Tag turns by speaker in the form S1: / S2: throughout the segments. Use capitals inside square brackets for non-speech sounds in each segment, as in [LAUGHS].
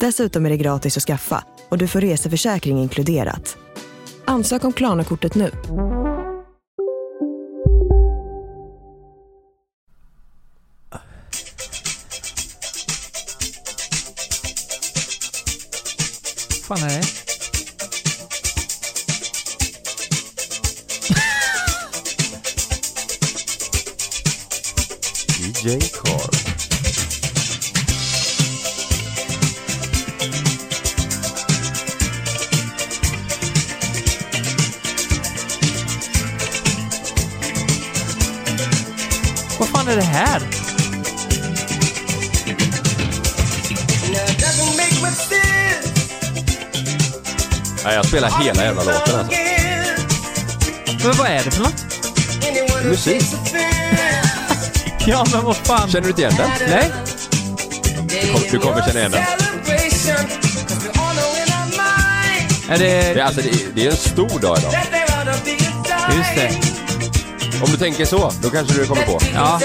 S1: Dessutom är det gratis att skaffa och du får reseförsäkring inkluderat. Ansök om Klarna-kortet nu.
S2: fan är det?
S3: DJ Carl.
S2: Vad fan är det här?
S3: Nej, jag spelar hela jävla låten alltså.
S2: Men vad är det för något?
S3: Musik.
S2: Ja, men vad fan?
S3: Känner du inte igen den?
S2: Nej?
S3: Du kommer, du kommer känna igen den.
S2: Är det...
S3: Det är, alltså, det, är, det är en stor dag idag.
S2: Just det.
S3: Om du tänker så, då kanske du kommer på.
S2: Ja.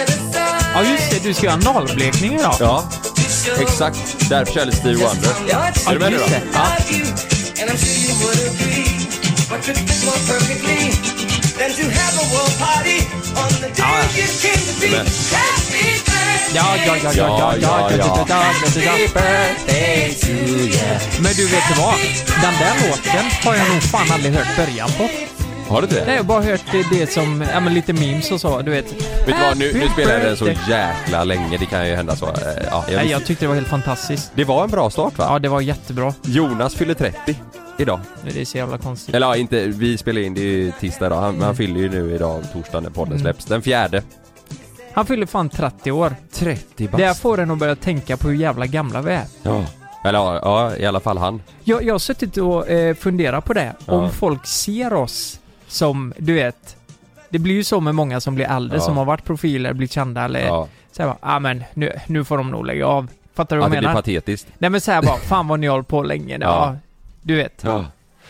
S2: Ja, just det. Du ska göra analblekning idag.
S3: Ja, exakt. Därför körde Stevie Wonder.
S2: Ja,
S3: Är du med nu då?
S2: just det. Ja.
S3: Men,
S2: Ja, ja, ja, ja, ja, ja, ja, ja, ja, ja, ja. Men du, vet du vad? Den där låten har jag nog fan aldrig hört början på.
S3: har du inte
S2: Nej,
S3: det?
S2: jag har bara hört det, det som, ja men lite memes och så, du vet.
S3: Vet du vad, nu, nu spelar jag den så jäkla länge. Det kan ju hända så. Eh, Ja, jag
S2: Nej,
S3: visste-
S2: jag tyckte det var helt fantastiskt.
S3: Det var en bra start va?
S2: Ja, det var jättebra.
S3: Jonas fyller 30 idag.
S2: Det är så jävla konstigt.
S3: Eller ja, inte, vi spelar in det ju tisdag idag. Han,
S2: Mm.
S3: han fyller ju nu idag, torsdag när podden släpps. Den fjärde.
S2: Han fyller fan 30 år.
S3: 30
S2: Det här får en att börja tänka på hur jävla gamla vi är.
S3: Ja. Eller ja, ja, i alla fall han.
S2: Jag, jag har suttit och eh, funderat på det.
S3: Ja.
S2: Om folk ser oss som, du vet, det blir ju så med många som blir äldre,
S3: Ja.
S2: som har varit profiler, blivit kända eller
S3: Ja.
S2: så här bara, ah, men nu, nu får de nog lägga av. Fattar du
S3: Att
S2: vad
S3: det
S2: jag
S3: blir
S2: menar?
S3: patetiskt.
S2: Nej men så här bara, fan vad ni har hållit på länge. Ja.
S3: Ja.
S2: du vet.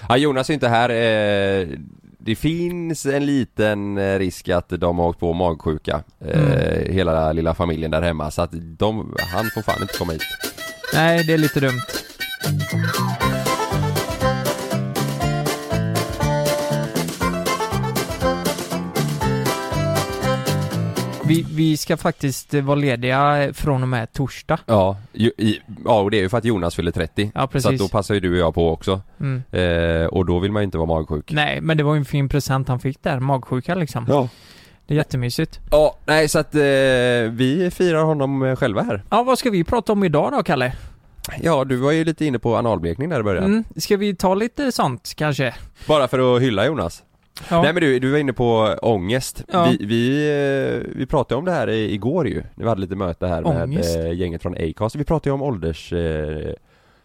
S3: Ja. Jonas är inte här. eh, Det finns en liten eh, risk att de har åkt på magsjuka. eh, Hela lilla familjen där hemma. Så att de, han får fan inte komma hit.
S2: Nej, det är lite dumt. Vi, vi ska faktiskt eh, vara lediga från och med torsdag.
S3: Ja, ju- i- ja och det är ju för att Jonas fyller 30.
S2: Ja,
S3: så att
S2: precis.
S3: då passar ju du och jag på också.
S2: Mm.
S3: Eh, och då vill man ju inte vara magsjuk.
S2: Nej, men det var ju en fin present han fick där, magsjuka liksom.
S3: Ja.
S2: Det är jättemysigt.
S3: Ja, nej så att eh, vi firar honom eh, själva här.
S2: Ja, vad ska vi prata om idag då, Kalle?
S3: Ja, du var ju lite inne på analblekning där i början.
S2: Mm, ska vi ta lite sånt kanske?
S3: Bara för att hylla Jonas.
S2: Ja.
S3: Nej men du, du var inne på ångest.
S2: Ja.
S3: Vi, vi, eh, vi pratade om det här i- igår ju, när vi hade lite möte här
S2: Ångest.
S3: med eh, gänget från Acast. Vi pratade ju om ålders... Eh,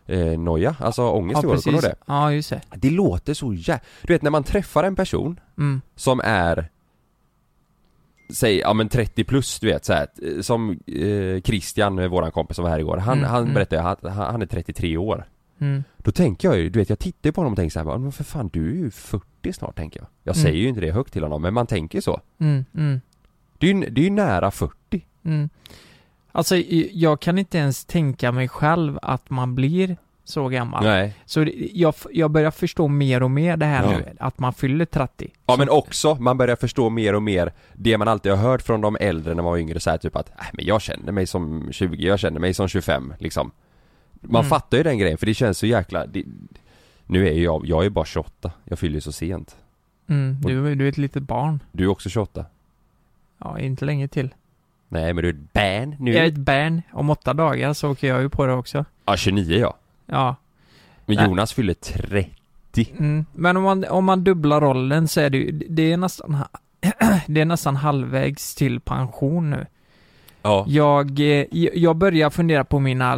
S3: eh, noja, alltså ångest
S2: ja,
S3: i år, kommer du ihåg
S2: precis.
S3: det?
S2: Ja, just det.
S3: Det låter så jä... Du vet när man träffar en person
S2: Mm.
S3: som är Säg, ja men 30 plus du vet så här, eh, Som eh, Christian, eh, våran kompis som var här igår, han,
S2: Mm,
S3: han
S2: mm.
S3: berättade ju att han, han är 33 år
S2: Mm.
S3: Då tänker jag ju, du vet jag tittar ju på honom och tänker så här, bara, men för fan du är ju 40 snart tänker jag Jag
S2: Mm.
S3: säger ju inte det högt till honom men man tänker ju så
S2: Mm. Mm.
S3: Det är ju, det är ju nära 40
S2: Mm. Alltså, i- jag kan inte ens tänka mig själv att man blir så gammal.
S3: Nej
S2: Så det- jag, f- jag börjar förstå mer och mer det här
S3: Ja.
S2: nu, att man fyller 30.
S3: Ja
S2: Så-
S3: men också, man börjar förstå mer och mer det man alltid har hört från de äldre när man var yngre så här typ att äh, men jag känner mig som 20, jag känner mig som 25 liksom Man
S2: Mm.
S3: fattar ju den grejen för det känns så jäkla det, Nu är ju jag, jag är bara 28, jag fyller ju så sent
S2: Mm. Du, du är ett litet barn.
S3: Du är också 28
S2: Ja, inte länge till.
S3: Nej men du är ett ban nu.
S2: Jag är ett barn. Om åtta dagar så åker jag ju på det också.
S3: Ja 29 ja.
S2: Ja. Nej.
S3: Men Jonas fyller 30.
S2: Mm. Men om man, om man dubblar rollen så är det ju, det är nästan, ha- [CLEARS THROAT] det är nästan halvvägs till pension nu.
S3: Ja.
S2: Jag, eh, jag börjar fundera på mina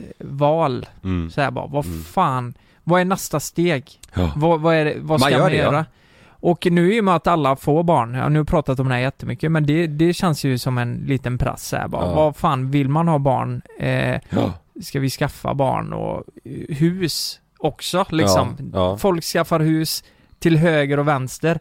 S2: livsval.
S3: Mm.
S2: Så här bara, vad fan, vad är nästa steg?
S3: Ja.
S2: Vad, vad, är, det- vad
S3: Man
S2: ska man,
S3: gör det, ja.
S2: göra? Och nu i och med att alla får barn, jag har nu pratat om det här jättemycket, men det, det känns ju som en liten press så här bara.
S3: Ja.
S2: Vad fan, vill man ha barn? Eh,
S3: Ja.
S2: ska vi skaffa barn och eh, hus också liksom?
S3: Ja, ja.
S2: Folk skaffar hus till höger och vänster.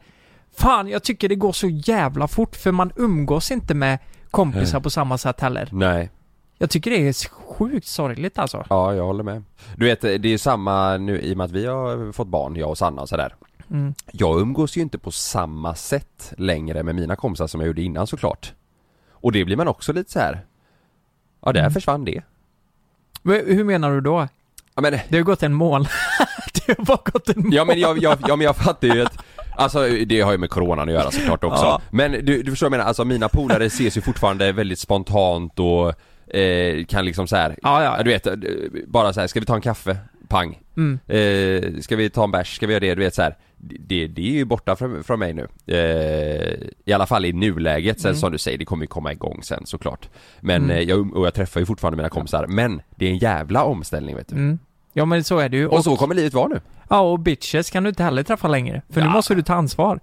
S2: Fan, jag tycker det går så jävla fort för man umgås inte med kompisar på samma sätt heller.
S3: Nej.
S2: Jag tycker det är sjukt sorgligt alltså.
S3: Ja, jag håller med. Du vet, det är ju samma nu i och med att vi har fått barn, jag och Sanna och sådär.
S2: Mm.
S3: Jag umgås ju inte på samma sätt längre med mina kompisar som jag gjorde innan såklart. Och det blir man också lite så här. Ja, där försvann det.
S2: Men Hur menar du då?
S3: Ja men,
S2: Det har gått en månad. [LAUGHS] det har bara gått en månad.
S3: ja, men, jag, jag, ja, men jag fattar ju att Alltså det har ju med coronan att göra såklart också.
S2: Ja.
S3: Men du, du förstår vad jag menar, alltså mina polare ses ju fortfarande väldigt spontant och eh, kan liksom så här,
S2: Ja, ja.
S3: du vet, eh, bara så här, ska vi ta en kaffe? Pang.
S2: Mm.
S3: Eh, ska vi ta en bärs? Ska vi göra det? Du vet så här. Det, det är ju borta från, från mig nu. Eh, I alla fall i nuläget.
S2: Mm.
S3: Sen som du säger, det kommer ju komma igång sen såklart. Men eh, jag, och jag träffar ju fortfarande mina kompisar. Men det är en jävla omställning vet du.
S2: Mm. Ja men så är det ju. Och,
S3: Och så kommer livet vara nu.
S2: ja och bitches kan du inte heller träffa längre. För nu
S3: Ja.
S2: måste du ta ansvar.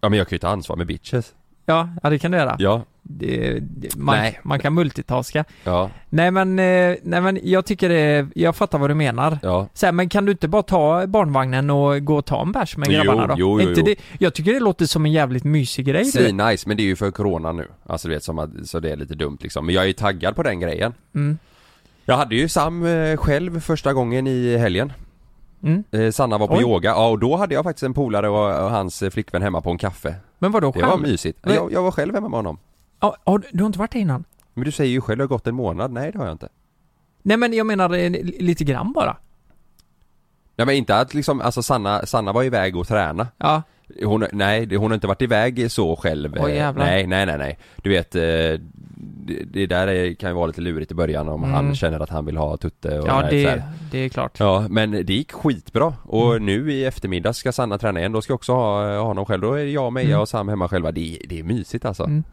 S3: Ja men jag kan ju ta ansvar med bitches.
S2: Ja, ja det kan du göra.
S3: Ja.
S2: Det, det, man,
S3: Nej.
S2: man kan multitaska.
S3: Ja.
S2: Nej men, eh, nej men jag tycker det, jag fattar vad du menar.
S3: Ja.
S2: Så här, men kan du inte bara ta barnvagnen och gå och ta en bärs med
S3: Jo,
S2: grabbarna då?
S3: jo, jo,
S2: inte
S3: jo.
S2: Det, jag tycker det låter som en jävligt mysig grej. du vet.
S3: Svin nice, men det är ju för corona nu. Alltså du vet, som att, så det är lite dumt liksom. Men jag är ju taggad på den grejen.
S2: Mm.
S3: Jag hade ju Sam eh, själv första gången i helgen.
S2: Mm.
S3: Eh, Sanna var på
S2: Oj.
S3: yoga, ja och då hade jag faktiskt en polare och, och hans eh, flickvän hemma på en kaffe.
S2: Men vadå
S3: Det
S2: själv?
S3: var mysigt.
S2: Men-
S3: Jag, jag var själv hemma med honom.
S2: Ja, ja, du, du har inte varit där innan?
S3: Men du säger ju själv, det har gått en månad. Nej det har jag inte.
S2: Nej men jag menar eh, li- lite grann bara.
S3: Nej men inte att liksom, alltså Sanna, Sanna var iväg och träna.
S2: Ja.
S3: Hon, nej, det- hon har inte varit iväg så själv.
S2: Åh,
S3: Eh,
S2: jävlar.
S3: nej, nej, nej, nej. Du vet, eh, det, det där är, kan ju vara lite lurigt i början om
S2: Mm.
S3: han känner att han vill ha tutte och
S2: Ja,
S3: nej, så här.
S2: det, det är klart.
S3: Ja, men det gick skitbra och
S2: Mm.
S3: nu i eftermiddag ska Sanna träna igen. Då ska jag också ha, ha honom själv. Då är jag, Meja
S2: Mm.
S3: och Sam hemma själva. Det, det är mysigt alltså.
S2: Mm.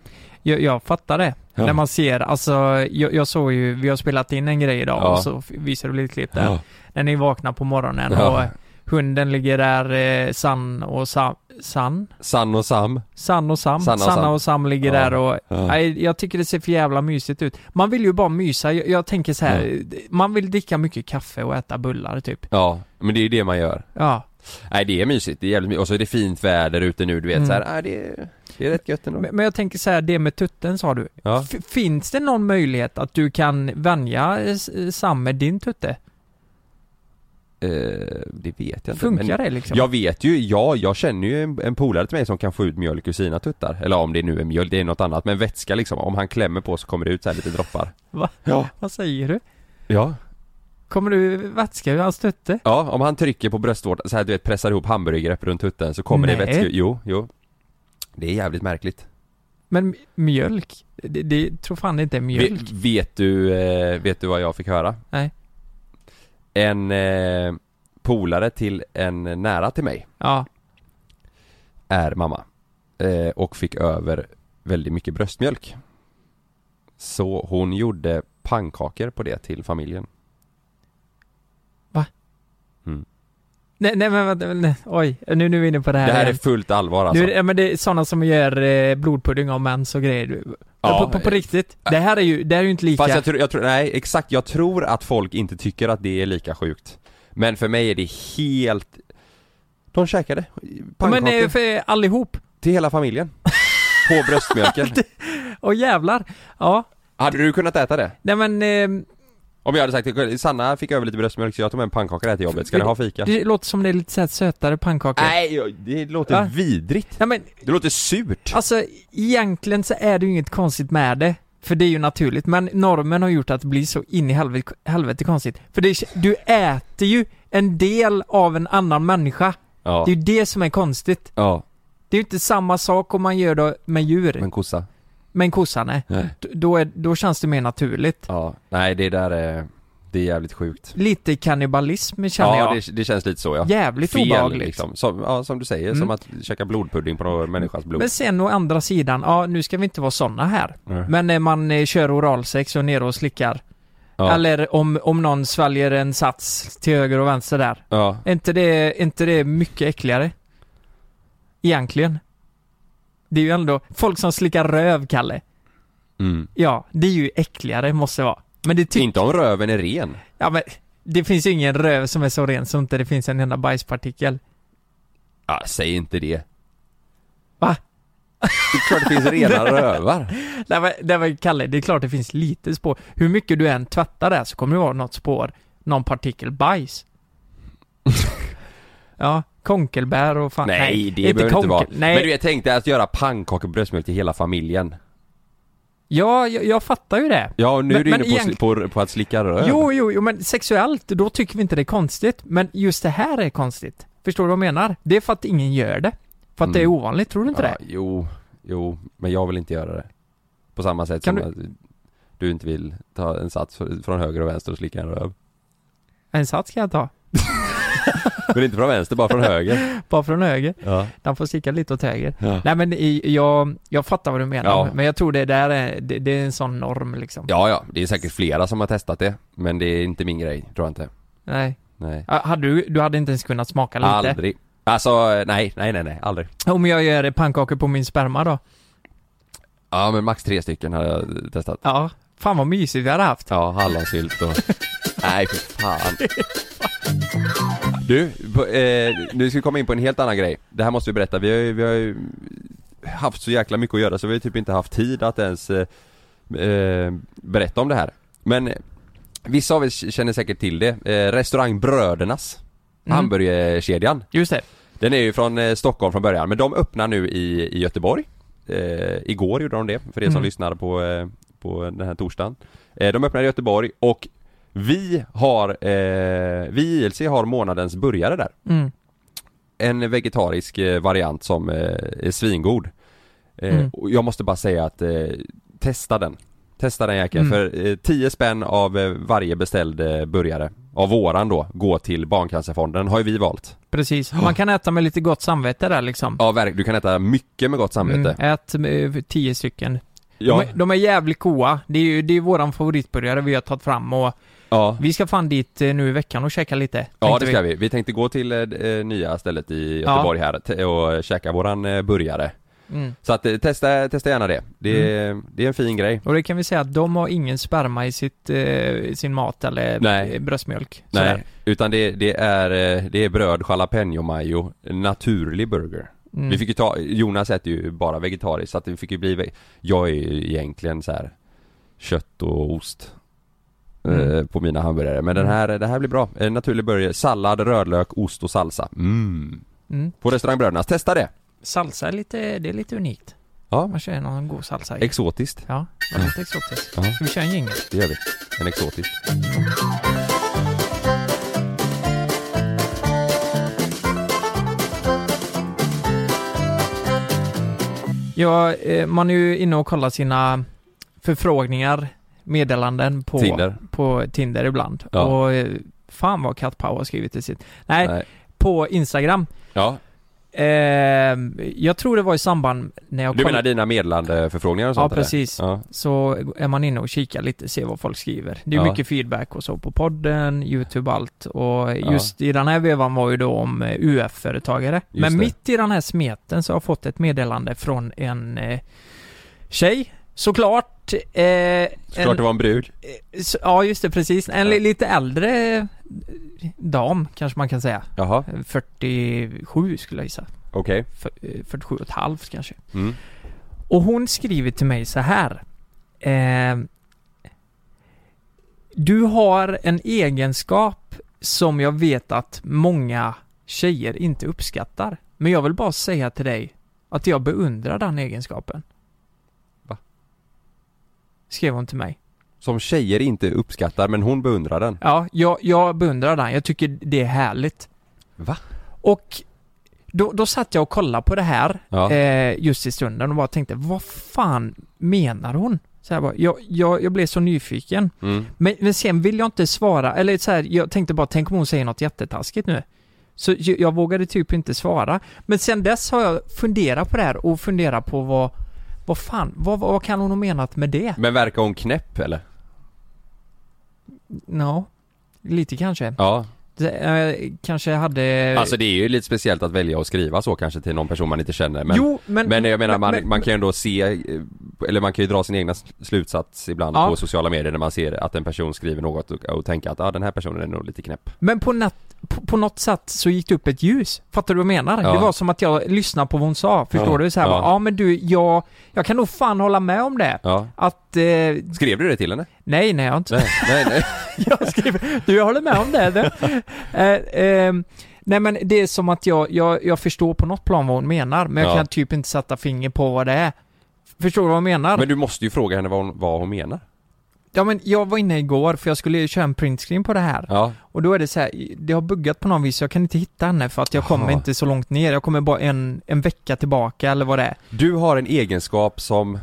S2: Jag, jag fattar det.
S3: Ja.
S2: När man ser, alltså jag, jag såg ju, vi har spelat in en grej idag
S3: Ja.
S2: och så f- visade du lite klipp där.
S3: Ja.
S2: När ni vaknar på morgonen
S3: Ja.
S2: och hunden ligger där, eh, San och Sam, San?
S3: Sann och Sam.
S2: San och Sam?
S3: Sanna och
S2: Sanna
S3: Sam.
S2: och Sam ligger
S3: Ja.
S2: där och
S3: Ja.
S2: Nej, jag tycker det ser för jävla mysigt ut. Man vill ju bara mysa, jag, jag tänker så här, man vill dricka mycket kaffe och äta bullar typ.
S3: Ja, men det är ju det man gör.
S2: Ja.
S3: Nej, det är mysigt. Det är jävligt mysigt. Och så är det fint väder ute nu, du vet
S2: Mm.
S3: så här. Nej, det, är- det är rätt gött ändå.
S2: Men men jag tänker så här, det med tutten sa du.
S3: Ja.
S2: F- finns det någon möjlighet att du kan vänja eh, s- eh, Sam med din tutte?
S3: Eh, det vet jag inte.
S2: Funkar
S3: men
S2: det liksom?
S3: Jag vet ju, ja, jag känner ju en, en polare till mig som kan få ut mjölk ur sina tuttar. Eller om det nu är mjölk, det är något annat. Men vätska liksom. Om han klämmer på så kommer det ut så här lite droppar.
S2: Va?
S3: Ja.
S2: Vad säger du?
S3: Ja.
S2: Kommer du vätska ur hans tutte?
S3: Ja, om han trycker på bröstvårtan så här, du vet pressar ihop hamburgergrepp runt tutten så kommer det
S2: Nej.
S3: vätske Jo, jo Det är jävligt märkligt
S2: Men m- mjölk? Det, det tror fan inte är mjölk.
S3: Ve- Vet du, eh, vet du vad jag fick höra?
S2: Nej.
S3: En eh, polare till en nära till mig
S2: Ja.
S3: är mamma eh, Och fick över väldigt mycket bröstmjölk Så hon gjorde pannkakor på det till familjen
S2: Nej, nej men vänta, nej. oj. Nu, nu är vi inne på det här
S3: Det här är
S2: igen.
S3: fullt allvar alltså
S2: Nu är det, ja, men det är sådana som gör eh, blodpudding av mens och grejer. Du-
S3: Ja. Äh.
S2: på, på, på riktigt. Det här är ju, det här är ju inte lika...
S3: Fast jag tror, jag tror, nej exakt, jag tror att folk inte tycker att det är lika sjukt Men för mig är det helt De käkade
S2: Ja,
S3: pannkakor
S2: men eh, för allihop.
S3: till hela familjen
S2: [LAUGHS]
S3: På bröstmjölken
S2: Åh jävlar. Ja.
S3: Hade du kunnat äta det?
S2: Nej men, eh,
S3: Om jag hade sagt till- Sanna fick över lite bröstmjölk så jag tog med en pannkaka där till jobbet, ska ni ha fika?
S2: det låter som det är lite så här sötare pannkakor.
S3: Nej, jag- det låter
S2: Va?
S3: vidrigt
S2: Nej men,
S3: Det låter surt
S2: alltså egentligen så är det ju inget konstigt med det. För det är ju naturligt, men normen har gjort att det blir så in i helvete, helvete konstigt. För det, är- du äter ju en del av en annan människa.
S3: Ja,
S2: Det är ju det som är konstigt.
S3: ja
S2: Det är ju inte samma sak om man gör det med djur.
S3: men kossa
S2: Men kossan nej.
S3: Nej.
S2: D- Då, är, då känns det mer naturligt.
S3: Ja, nej det där är, det är jävligt sjukt.
S2: Lite kannibalism känner
S3: ja,
S2: jag.
S3: det, det känns lite så ja.
S2: Jävligt obehagligt.
S3: liksom. Som, ja, som du säger,
S2: Mm.
S3: som att käka blodpudding på någon människas blod.
S2: Men sen å andra sidan, ja nu ska vi inte vara såna här.
S3: Nej.
S2: Men när man eh, kör oralsex och ner och slickar.
S3: ja.
S2: Eller om, om någon sväljer en sats till höger och vänster där.
S3: ja.
S2: Är inte det, är inte det mycket äckligare? Egentligen. Det är ju ändå, folk som slickar röv, Kalle.
S3: Mm.
S2: Ja, det är ju äckligare måste det vara. Men det tycker
S3: Inte om röven är ren.
S2: Ja men, det finns ju ingen röv som är så ren som inte det finns en enda bajspartikel.
S3: Ja, säg inte det.
S2: Va?
S3: Det är klart det
S2: [LAUGHS]
S3: finns rena rövar.
S2: Nej men, nej, men Kalle, det är klart det finns lite spår. Hur mycket du än tvättar där så kommer det vara något spår, någon partikel
S3: [LAUGHS]
S2: bajs. ja, konkelbär och fan.
S3: Nej, det behöver inte
S2: konkel-
S3: vara.
S2: Nej,
S3: Men du vet, tänk dig att göra pannkakor och bröstmjölk till hela familjen.
S2: ja, jag, jag fattar ju det.
S3: Ja, och nu
S2: Men-
S3: är du
S2: men
S3: inne på,
S2: egent-
S3: på, på att slicka röv.
S2: Jo, jo, jo, men sexuellt, då tycker vi inte det är konstigt. Men just det här är konstigt. Förstår du vad jag menar? Det är för att ingen gör det. För att det är
S3: Mm.
S2: ovanligt, tror du inte
S3: ja,
S2: det?
S3: jo, jo, men jag vill inte göra det. På samma sätt
S2: Kan
S3: som att du inte vill ta en sats fr- från höger och vänster och slicka en röv.
S2: En sats kan jag ta.
S3: Men inte från vänster, bara från
S2: [LAUGHS]
S3: höger.
S2: Bara från höger.
S3: Ja.
S2: Den får sticka lite åt höger.
S3: Ja.
S2: Nej men i- jag, jag fattar vad du menar.
S3: Ja.
S2: Men jag tror det där är, det, det är en sån norm liksom.
S3: ja, ja, det är säkert flera som har testat det. Men det är inte min grej, tror jag inte.
S2: Nej.
S3: Nej.
S2: Ah, Hade du, du hade inte ens kunnat smaka lite?
S3: Aldrig. Alltså, nej, nej, nej, nej, aldrig.
S2: Om jag gör pannkakor på min sperma då?
S3: Ja, men max tre stycken har jag testat.
S2: Ja. Fan vad mysigt vi hade haft.
S3: Ja, hallonsylt och...
S2: [LAUGHS]
S3: Nej, för fan. Du, på- eh, nu ska vi komma in på en helt annan grej. Det här måste vi berätta. Vi har ju, vi har ju haft så jäkla mycket att göra så vi har ju typ inte haft tid att ens eh, eh, berätta om det här. Men eh, vissa av er känner säkert till det. Eh, restaurang Brödernas,
S2: Mm.
S3: hamburgerkedjan.
S2: Just det.
S3: Den är ju från eh, Stockholm från början men de öppnar nu i, i Göteborg eh, Igår gjorde de det för er som
S2: Mm.
S3: lyssnar på, eh, på den här torsdagen eh, De öppnar i Göteborg och vi har, eh, vi i ILC har månadens burgare där
S2: Mm.
S3: En vegetarisk eh, variant som eh, är svingod eh,
S2: Mm.
S3: och Jag måste bara säga att eh, testa den Testa den jäkeln
S2: Mm.
S3: för eh, 10 spänn av eh, varje beställd eh, burgare Av våran då, går till Barncancerfonden, har ju vi valt
S2: Precis. Man kan äta med lite gott samvete där liksom.
S3: Ja verkligen, du kan äta mycket med gott samvete
S2: Mm, ät eh, tio stycken.
S3: Ja,
S2: De, är, de är jävligt goa. Det är ju det är våran favoritburgare vi har tagit fram och
S3: ja.
S2: vi ska fan dit eh, nu i veckan och käka lite.
S3: ja
S2: tänkte
S3: det ska vi. Vi tänkte gå till eh, d- eh, nya stället i Göteborg här t- och käka våran eh, burgare.
S2: Mm.
S3: Så att eh, testa, testa gärna det. Det, är- det är en fin grej.
S2: Och det kan vi säga att de har ingen sperma i sitt, eh, i sin mat eller
S3: Nej.
S2: eh, bröstmjölk. Sådär.
S3: Nej, utan det, det, är, eh, det är bröd, jalapeno mayo, naturlig burger.
S2: Mm.
S3: Vi fick ju ta, Jonas äter ju bara vegetariskt så att vi fick ju bli, ve- jag är ju egentligen så här kött och ost eh,
S2: Mm.
S3: på mina hamburgare. Men den här, det här blir bra. En naturlig burger, sallad, rödlök, ost och salsa. Mm.
S2: Mm.
S3: På restaurang Brödernas, testa det!
S2: Salsa är lite, det är lite unikt.
S3: Ja,
S2: Man kör någon god salsa i.
S3: Exotiskt,
S2: Ja, det är lite exotiskt.
S3: Ja.
S2: Ska vi köra en jingel?
S3: det gör vi. En exotisk.
S2: Ja, eh, man är ju inne och kollar sina förfrågningar, meddelanden på
S3: Tinder.
S2: på Tinder ibland.
S3: Ja.
S2: Och eh, fan vad Kat Pau har skrivit i sitt. Nej,
S3: Nej.
S2: på Instagram.
S3: Ja,
S2: Eh, jag tror det var i samband när jag
S3: du
S2: kollade-
S3: menar dina meddelande förfrågningar och
S2: Ja,
S3: sånt eller?
S2: precis.
S3: Ja.
S2: så är man inne och kikar lite, ser vad folk skriver. Det är
S3: Ja.
S2: mycket feedback och så på podden, YouTube och allt. Och just i den här vevan var ju då om eh, UF-företagare.
S3: Just
S2: Men
S3: det.
S2: mitt i den här smeten så har jag fått ett meddelande från en eh, tjej. Såklart. Eh,
S3: Såklart det var en brud.
S2: en, s- ja, just det, precis. En li- lite äldre eh, dam kanske man kan säga.
S3: Jaha,
S2: 47 skulle jag gissa.
S3: okej.
S2: För- eh, 47 och ett halvt kanske.
S3: Mm.
S2: Och hon skriver till mig så här. Eh, du har en egenskap som jag vet att många tjejer inte uppskattar. Men jag vill bara säga till dig att jag beundrar den egenskapen.
S3: Va?
S2: Skrev hon till mig.
S3: Som tjejer inte uppskattar, men hon beundrar den.
S2: Ja, jag, jag beundrar den. Jag tycker det är härligt.
S3: Va?
S2: Och då, då satt jag och kollade på det här
S3: Ja.
S2: eh, just i stunden och bara tänkte, vad fan menar hon? Så här bara, jag, jag, jag blev så nyfiken.
S3: Mm.
S2: Men, men sen vill jag inte svara, eller så här, jag tänkte bara, tänk om hon säger något jättetaskigt nu. Så jag, jag vågade typ inte svara. Men sen dess har jag funderat på det här och funderat på vad, vad fan, vad, vad kan hon ha menat med det?
S3: Men verkar hon knäpp eller?
S2: Ja, lite kanske.
S3: Ja.
S2: Det, eh, kanske hade...
S3: Alltså det är ju lite speciellt att välja att skriva så kanske till någon person man inte känner men
S2: jo, men,
S3: Men jag menar man,
S2: men-
S3: man kan ju ändå se, eh, eller man kan ju dra sin egna s- slutsats ibland
S2: Ja.
S3: på sociala medier när man ser att en person skriver något och, och tänker att ah, den här personen är nog lite knäpp.
S2: Men på, natt, på, på något sätt så gick det upp ett ljus. Fattar du vad jag menar?
S3: Ja.
S2: Det var som att jag lyssnade på vad hon sa. Förstår
S3: Ja.
S2: du? Så här,
S3: Ja.
S2: ja. ja men du, jag, jag kan nog fan hålla med om det.
S3: Ja.
S2: Att, eh,
S3: Skrev du det till henne?
S2: nej nej jag har inte.
S3: Nej, nej, nej.
S2: [LAUGHS] jag skriver, du jag håller med om det. du. Eh, ehm, nej men det är som att jag, jag, jag förstår på något plan vad hon menar, men jag
S3: Ja.
S2: kan typ inte sätta finger på vad det är. Förstår du vad jag menar?
S3: Men du måste ju fråga henne vad hon, vad hon menar.
S2: Ja men jag var inne igår för jag skulle ju köra en printscreen på det här.
S3: Ja.
S2: Och då är det så här, det har buggat på någon vis, jag kan inte hitta henne för att jag kommer
S3: Jaha.
S2: inte så långt ner. Jag kommer bara en, en vecka tillbaka eller vad det är.
S3: Du har en egenskap som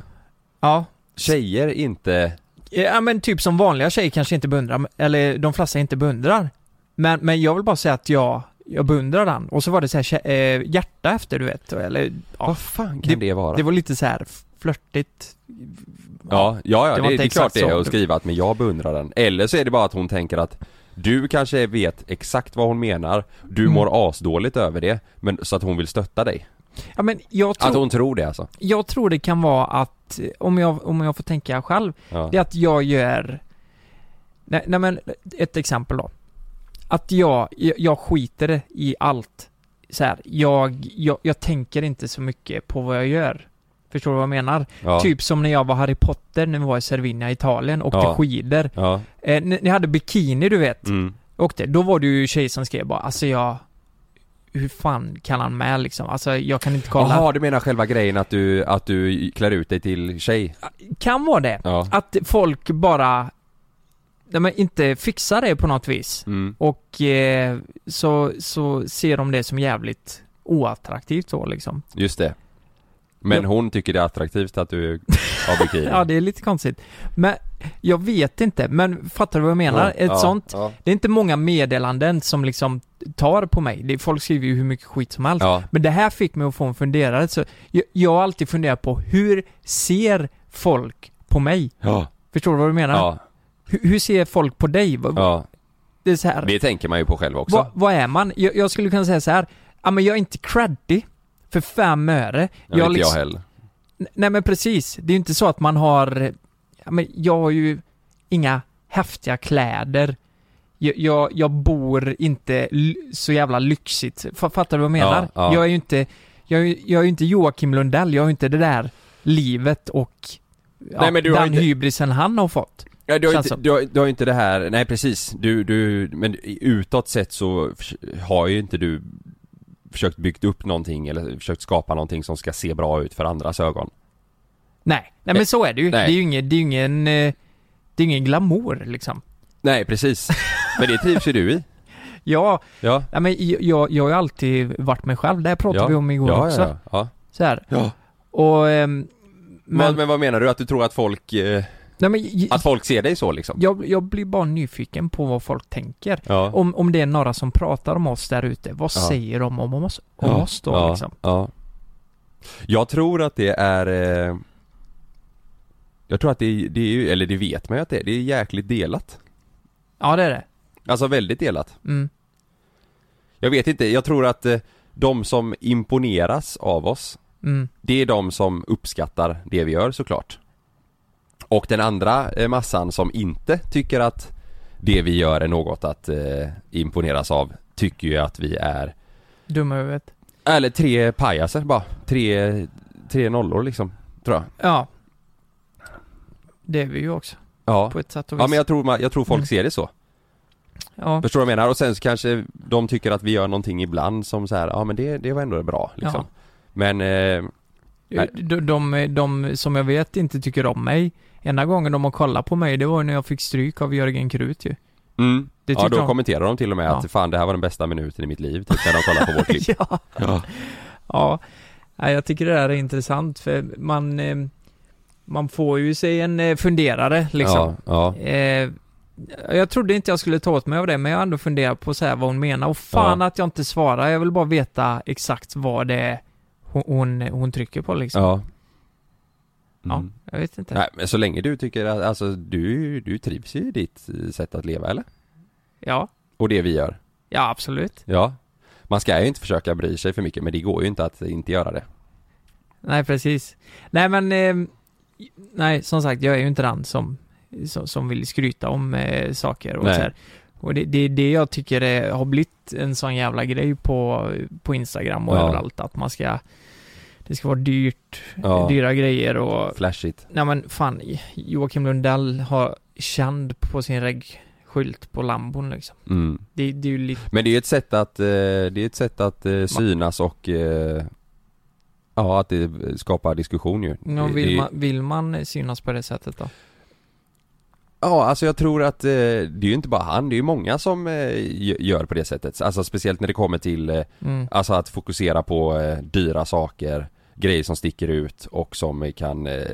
S2: Ja.
S3: tjejer inte...
S2: Ja men typ som vanliga tjejer kanske inte beundrar, eller de flesta inte beundrar. Men, men jag vill bara säga att jag, jag beundrar den. Och så var det så här, tje- eh, hjärta efter du vet, eller ja.
S3: Vad fan kan det, vara?
S2: Det var lite så här flörtigt.
S3: ja, ja, ja
S2: det
S3: det,
S2: var
S3: det,
S2: inte
S3: är klart
S2: exakt
S3: det är
S2: så.
S3: att skriva att men jag beundrar den. Eller så är det bara att hon tänker att du kanske vet exakt vad hon menar, du
S2: Mm.
S3: mår asdåligt över det, men så att hon vill stötta dig.
S2: Ja men jag tror,
S3: Att hon tror det alltså.
S2: jag tror det kan vara att, eh, om jag, om jag får tänka själv,
S3: Ja.
S2: Det är att jag gör... Nej, nej men, ett exempel då. Att jag, jag, jag skiter i allt. Så här, jag, jag, jag tänker inte så mycket på vad jag gör. Förstår du vad jag menar?
S3: Ja.
S2: Typ som när jag var Harry Potter när vi var i Cervinia, Italien, åkte
S3: Ja.
S2: skidor.
S3: Ja.
S2: Eh, ni, ni hade bikini, du vet.
S3: Mm.
S2: Åkte. Då var det ju tjejer som skrev bara, alltså jag... Hur fan kan han med liksom? Alltså jag kan inte kolla.
S3: Jaha, du menar själva grejen att du, att du klär ut dig till tjej?
S2: Kan vara det.
S3: Ja.
S2: Att folk bara... Nej, men inte fixar det på något vis.
S3: Mm.
S2: Och eh, så, så ser de det som jävligt oattraktivt så liksom.
S3: Just det. Men
S2: Ja.
S3: hon tycker det är attraktivt att du har bikini?
S2: [LAUGHS] Ja, det är lite konstigt. Men jag vet inte, men fattar du vad jag menar?
S3: Ja,
S2: Ett
S3: ja,
S2: sånt,
S3: Ja.
S2: det är inte många meddelanden som liksom tar på mig. Det, folk skriver ju hur mycket skit som helst.
S3: Ja.
S2: Men det här fick mig att få en funderare. Så jag, jag har alltid funderat på hur ser folk på mig?
S3: Ja.
S2: Förstår du vad du menar?
S3: Ja.
S2: Hur, hur ser folk på dig? Vad-
S3: ja.
S2: Det är så här.
S3: Det tänker man ju på själv också.
S2: Vad, vad är man? Jag, jag skulle kunna säga så här. Ja men jag är inte creddig för fem öre.
S3: Ja, inte
S2: liksom-
S3: jag heller.
S2: N- Nej men precis. Det är ju inte så att man har... Ja, men jag har ju inga häftiga kläder. Jag, jag, jag bor inte l- så jävla lyxigt. F- Fattar du vad jag menar?
S3: Ja, ja.
S2: Jag är ju inte... Jag, är- jag är ju inte Joakim Lundell. Jag har ju inte det där livet och... Ja,
S3: Nej, men du har
S2: den
S3: inte-
S2: hybrisen han har fått.
S3: Ja, du, har
S2: Känns
S3: inte,
S2: som.
S3: du, har, du har inte det här, nej precis. Du, du, men utåt sett så förs- har ju inte du försökt byggt upp någonting eller försökt skapa någonting som ska se bra ut för andras ögon.
S2: Nej, nej men så är det ju.
S3: Nej.
S2: Det är ju ingen... Det är ju ingen... eh, Det är ingen glamour liksom.
S3: Nej, precis. Men det trivs ju du i.
S2: Ja,
S3: Ja.
S2: ja men jag- jag, jag har ju alltid varit mig själv. Det här pratade
S3: ja.
S2: vi om igår
S3: ja,
S2: också.
S3: Ja, ja.
S2: Så här.
S3: Ja.
S2: Och... ehm,
S3: Men,
S2: men,
S3: vad- men vad menar du? Att du tror att folk, eh,
S2: nej, men j-
S3: att folk ser dig så liksom?
S2: jag, jag blir bara nyfiken på vad folk tänker.
S3: Ja.
S2: Om, om det är några som pratar om oss där ute, vad
S3: Ja.
S2: säger de om oss, om oss då
S3: ja,
S2: liksom?
S3: Ja. Jag tror att det är eh, Jag tror att det, det är ju, eller det vet man ju att det är, det är jäkligt delat.
S2: Ja, det är det.
S3: Alltså väldigt delat.
S2: Mm.
S3: Jag vet inte, jag tror att eh, de som imponeras av oss,
S2: Mm.
S3: det är de som uppskattar det vi gör såklart. Och den andra eh, massan som inte tycker att det vi gör är något att eh, imponeras av, tycker ju att vi är
S2: Dumma huvudet.
S3: Eller tre pajaser bara. Tre, tre nollor liksom, tror jag.
S2: Ja. Det är vi ju också,
S3: Ja.
S2: på ett sätt och vis.
S3: Ja men jag tror, man- jag tror folk
S2: Mm.
S3: ser det så.
S2: ja.
S3: Förstår du vad jag menar? Och sen så kanske de tycker att vi gör någonting ibland som så här, ja men det, det var ändå bra liksom. Men, eh, Nej.
S2: De, de, de som jag vet inte tycker om mig, enda gången de har kollat på mig, det var ju när jag fick stryk av Jörgen Krut ju.
S3: mm,
S2: Det
S3: Ja,
S2: tyckte
S3: då
S2: de.
S3: kommenterar de till och med att
S2: Ja.
S3: fan det här var den bästa minuten i mitt liv, typ, när de kollar
S2: [LAUGHS]
S3: på vårt klipp.
S2: ja.
S3: Ja.
S2: Ja, nej, jag tycker det här är intressant för man, eh, man får ju sig en eh, funderare liksom.
S3: Ja,
S2: Eh, jag trodde inte jag skulle ta åt mig av det men jag har ändå funderat på så här vad hon menar och fan
S3: Ja.
S2: att jag inte svarar. Jag vill bara veta exakt vad det är hon, hon, hon trycker på liksom.
S3: ja.
S2: Ja,
S3: Mm.
S2: jag vet inte.
S3: Nej, men så länge du tycker att, alltså du, du trivs ju i ditt eh, sätt att leva eller?
S2: Ja,
S3: Och det vi gör.
S2: ja absolut.
S3: Ja. Man ska ju inte försöka bry sig för mycket men det går ju inte att inte göra det.
S2: Nej precis. Nej men, eh, nej som sagt jag är ju inte den som, som, som vill skryta om eh, saker och
S3: Nej.
S2: så här. Och det, det är det jag tycker eh, har blivit en sån jävla grej på, på Instagram och
S3: Ja.
S2: överallt att man ska Det ska vara dyrt,
S3: Ja.
S2: dyra grejer och
S3: Flashigt.
S2: Nej men fan, Joakim Lundell har känd på sin reggskylt på Lambon liksom.
S3: Mm.
S2: Det, det är ju lite,
S3: Men det är ju ett sätt att, eh, det är ett sätt att eh, synas och eh, Ja, att det skapar diskussion ju.
S2: Ja,
S3: Det-
S2: vill,
S3: det-
S2: man, vill man synas på det sättet då?
S3: Ja, alltså jag tror att eh, det är ju inte bara han, det är ju många som eh, gö- gör på det sättet. Alltså speciellt när det kommer till eh,
S2: Mm.
S3: Alltså att fokusera på eh, dyra saker, grejer som sticker ut och som kan eh,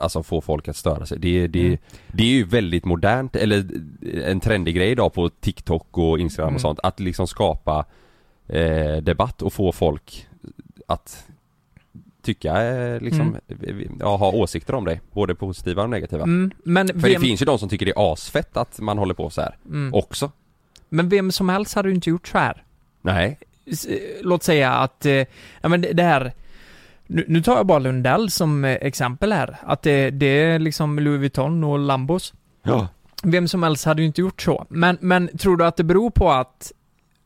S3: alltså få folk att störa sig. Det, det,
S2: Mm.
S3: det är ju väldigt modernt, eller eh, en trendig grej idag på TikTok och Instagram
S2: Mm.
S3: och sånt, att liksom skapa eh, debatt och få folk att tycka, eh, liksom, ja, ha åsikter om dig, både positiva och negativa.
S2: Mm, men,
S3: För
S2: vem,
S3: det finns ju de som tycker det är asfett att man håller på så här
S2: mm,
S3: också.
S2: men vem som helst hade ju inte gjort så här.
S3: Nej.
S2: s- eh, låt säga att, eh, ja men det det här nu, nu tar jag bara Lundell som eh, exempel här, att det, det är liksom Louis Vuitton och Lambos.
S3: Ja.
S2: Vem som helst hade ju inte gjort så. Men, men tror du att det beror på att,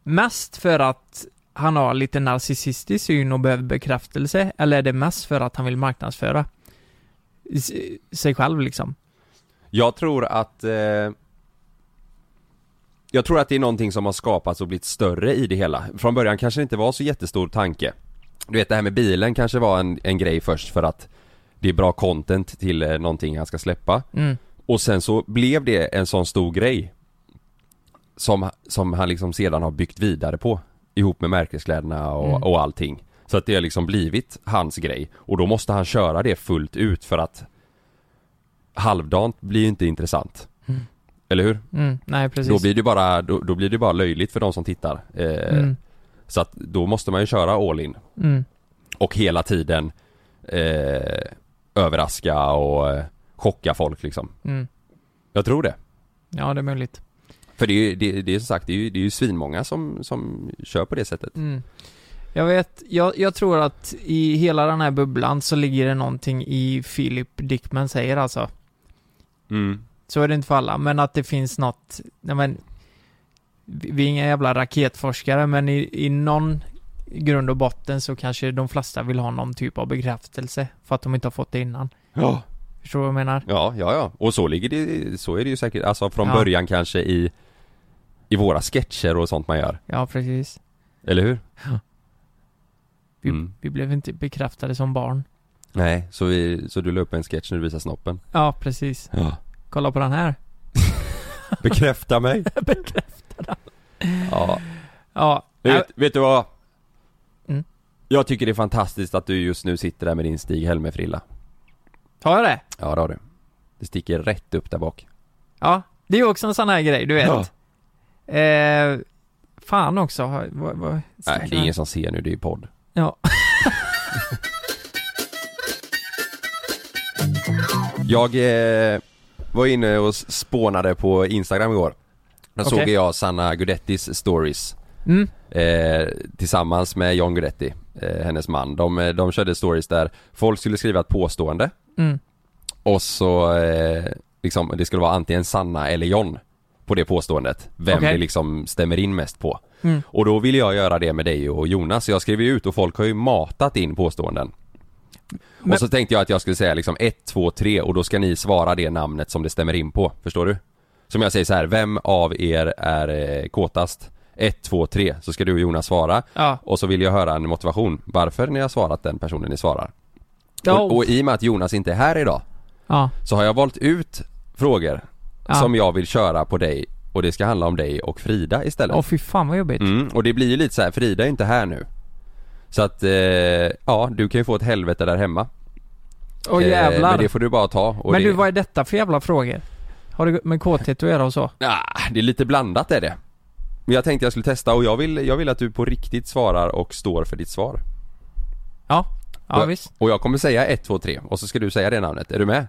S2: mest för att han har lite narcissistisk syn och behöver bekräftelse, eller är det mest för att han vill marknadsföra s- sig själv liksom?
S3: Jag tror att eh, Jag tror att det är någonting som har skapats och blivit större i det hela. Från början kanske det inte var så jättestor tanke. Du vet det här med bilen kanske var en, en grej först för att det är bra content till eh, någonting han ska släppa.
S2: Mm.
S3: Och sen så blev det en sån stor grej som, som han liksom sedan har byggt vidare på ihop med märkeskläderna och,
S2: Mm.
S3: och allting. Så att det har liksom blivit hans grej och då måste han köra det fullt ut för att halvdant blir ju inte intressant. Eller hur?
S2: Mm, nej precis.
S3: Då blir det bara, då, då blir det bara löjligt för de som tittar. Eh,
S2: Mm,
S3: Så att då måste man ju köra all in
S2: mm,
S3: och hela tiden eh, överraska och eh, chocka folk liksom.
S2: mm.
S3: Jag tror det.
S2: Ja, det är möjligt.
S3: För det är ju, det, det är som sagt, det är ju, det är ju svinmånga som, som kör på det sättet.
S2: Mm. Jag vet, jag, jag tror att i hela den här bubblan så ligger det någonting i Philip Dickman säger alltså. Så är det inte för alla, men att det finns något, nej men, vi vi är inga jävla raketforskare, men i, i någon grund och botten så kanske de flesta vill ha någon typ av bekräftelse för att de inte har fått det innan.
S3: Ja.
S2: Förstår du vad jag menar?
S3: Ja, ja, ja. Och så ligger det, så är det ju säkert, alltså från
S2: Ja.
S3: början kanske i, i våra sketcher och sånt man gör.
S2: Ja, precis.
S3: Eller hur?
S2: Vi,
S3: Mm.
S2: vi blev inte bekräftade som barn.
S3: Nej, så, vi, så du la upp en sketch när du visade snoppen.
S2: Ja, precis.
S3: Ja.
S2: Kolla på den här.
S3: [LAUGHS] Bekräfta mig. Ja.
S2: Ja.
S3: Du Vet, vet du vad?
S2: Mm.
S3: Jag tycker det är fantastiskt att du just nu sitter där med din Stig Helmer-frilla.
S2: Har jag det?
S3: Ja, det har du. Det sticker rätt upp där bak.
S2: Ja, det är ju också en sån här grej, du vet.
S3: Ja.
S2: Eh, fan också. har- Vad, vad,
S3: Nej, det är ingen som ser nu, det är ju podd.
S2: Ja.
S3: Jag eh, var inne och spånade på Instagram igår. Då
S2: Okej.
S3: såg jag Sanna Gudettis stories
S2: Mm.
S3: eh, tillsammans med John Gudetti, eh, hennes man. De, eh, de körde stories där folk skulle skriva ett påstående
S2: Mm.
S3: och så eh, liksom, det skulle vara antingen Sanna eller John på det påståendet. Vem
S2: Okej.
S3: det liksom stämmer in mest på.
S2: Mm.
S3: Och då ville jag göra det med dig och Jonas, så jag skrev ju ut och folk har ju matat in påståenden.
S2: Men-
S3: Och så tänkte jag att jag skulle säga liksom 1, 2, 3 och då ska ni svara det namnet som det stämmer in på, förstår du? Som jag säger så här, vem av er är eh, kåtast? 1, 2, 3, så ska du och Jonas svara.
S2: Ja.
S3: Och så vill jag höra en motivation, varför ni har svarat den personen ni svarar.
S2: Ja.
S3: Och, och i och med att Jonas inte är här idag,
S2: ja.
S3: så har jag valt ut frågor
S2: Ja.
S3: som jag vill köra på dig och det ska handla om dig och Frida istället.
S2: Åh fy fan vad jobbigt.
S3: Mm, och det blir ju lite så här, Frida är inte här nu. Så att, eh, ja du kan ju få ett helvete där hemma.
S2: Åh
S3: Eh,
S2: jävlar.
S3: Men det
S2: Men,
S3: får du bara ta. Och det,
S2: du vad är detta för jävla frågor? Har det med kåthet att göra och så?
S3: Ah, det är lite blandat är det. Men jag tänkte jag skulle testa och jag vill, jag vill att du på riktigt svarar och står för ditt svar.
S2: Ja. Ja
S3: Och-
S2: visst.
S3: Och jag kommer säga 1, 2, 3 och så ska du säga det namnet. Är du med?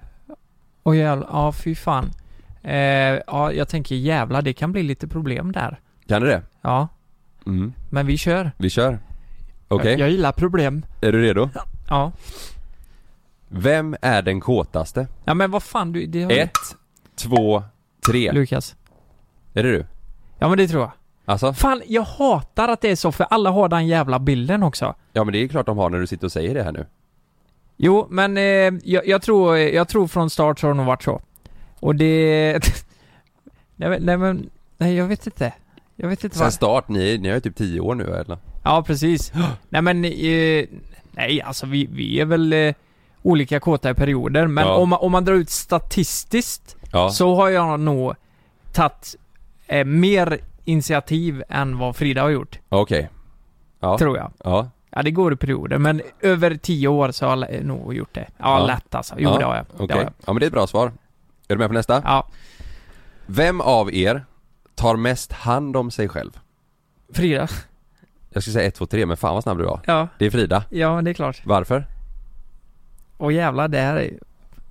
S2: Åh jävlar. Ja fy fan. Eh, ja jag tänker jävlar det kan bli lite problem där.
S3: Kan du det?
S2: Ja.
S3: Mm.
S2: Men vi kör.
S3: Vi kör. Okej,
S2: Jag, jag gillar problem.
S3: är du redo?
S2: Ja.
S3: Vem är den kåtaste?
S2: Ja men vad fan du, det har
S3: 1, 2, 3.
S2: Lukas.
S3: Är det du?
S2: Ja men det tror jag.
S3: Alltså?
S2: Fan jag hatar att det är så för alla har den jävla bilden också.
S3: Ja men det är klart de har när du sitter och säger det här nu.
S2: Jo, men eh, jag, jag, tror, jag tror från start så har det nog varit så. Och det... [LAUGHS] nej, men- nej, men, nej, jag vet inte. Jag vet inte
S3: Sen
S2: vad...
S3: start, ni, ni är ju typ 10 år nu eller?
S2: Ja, precis. [GASPS] nej, men... Eh, nej, alltså vi, vi är väl eh, olika kåta i perioder, men
S3: Ja.
S2: om, man, om man drar ut statistiskt
S3: Ja.
S2: så har jag nog tagit eh, mer initiativ än vad Frida har gjort,
S3: Okej. Ja.
S2: tror jag.
S3: Ja.
S2: Ja, det går i perioder, men över tio år så har jag eh, nog gjort det. Ja,
S3: Ja.
S2: lätt alltså. Jo,
S3: Ja,
S2: det har jag.
S3: Okej.
S2: Det har jag.
S3: Ja men det är ett bra svar. Är du med på nästa?
S2: Ja,
S3: Vem av er tar mest hand om sig själv?
S2: Frida.
S3: Jag skulle säga 1, 2, 3 men fan vad snabb du var.
S2: Ja,
S3: Det är Frida.
S2: ja det är klart.
S3: Varför?
S2: Och jävlar, det här är...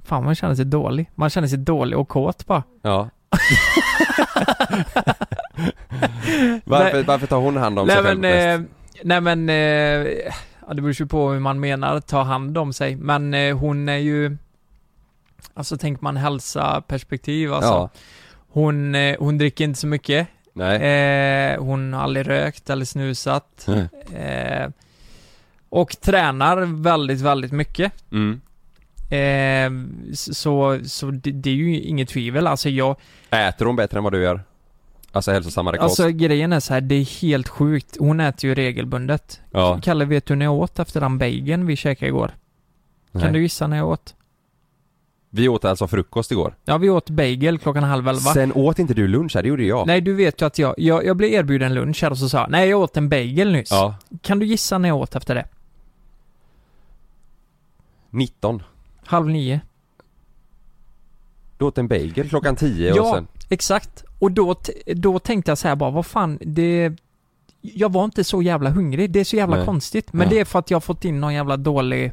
S2: Fan, man känner sig dålig. Man känner sig dålig och kåt bara. [LAUGHS]
S3: Ja. varför,
S2: Nej.
S3: varför tar hon hand om sig
S2: Nej
S3: själv
S2: men,
S3: mest?
S2: eh, nej men... Eh, ja, det beror ju på hur man menar, ta hand om sig. Men eh, hon är ju... Alltså tänker man hälsa perspektiv alltså.
S3: Ja.
S2: Hon, eh, hon dricker inte så mycket.
S3: Nej.
S2: Eh, hon har aldrig rökt eller snusat.
S3: Nej.
S2: Eh, och tränar väldigt, väldigt mycket.
S3: Mm.
S2: Eh, s- så så det, det är ju inget tvivel. Alltså jag,
S3: Äter hon bättre än vad du gör? Alltså hälsosammare kost?
S2: Alltså grejen är så här, det är helt sjukt. Hon äter ju regelbundet.
S3: ja.
S2: Kalle, vet du när jag åt efter den bageln vi käkade igår?
S3: Nej.
S2: Kan du gissa när jag åt?
S3: Vi åt alltså frukost igår.
S2: Ja, vi åt bagel klockan halv elva.
S3: Sen åt inte du lunch här, det gjorde jag.
S2: Nej, du vet ju att jag, jag, jag blev erbjuden lunch här och så sa jag, nej jag åt en bagel nyss.
S3: Ja.
S2: Kan du gissa när jag åt efter det?
S3: 19.
S2: Halv nio?
S3: Du åt en bagel klockan 10 och
S2: ja,
S3: sen...
S2: exakt. Och då, t- då tänkte jag så här bara, vad fan, det... Jag var inte så jävla hungrig, det är så jävla
S3: Nej.
S2: konstigt. Men
S3: Ja.
S2: det är för att jag har fått in någon jävla dålig...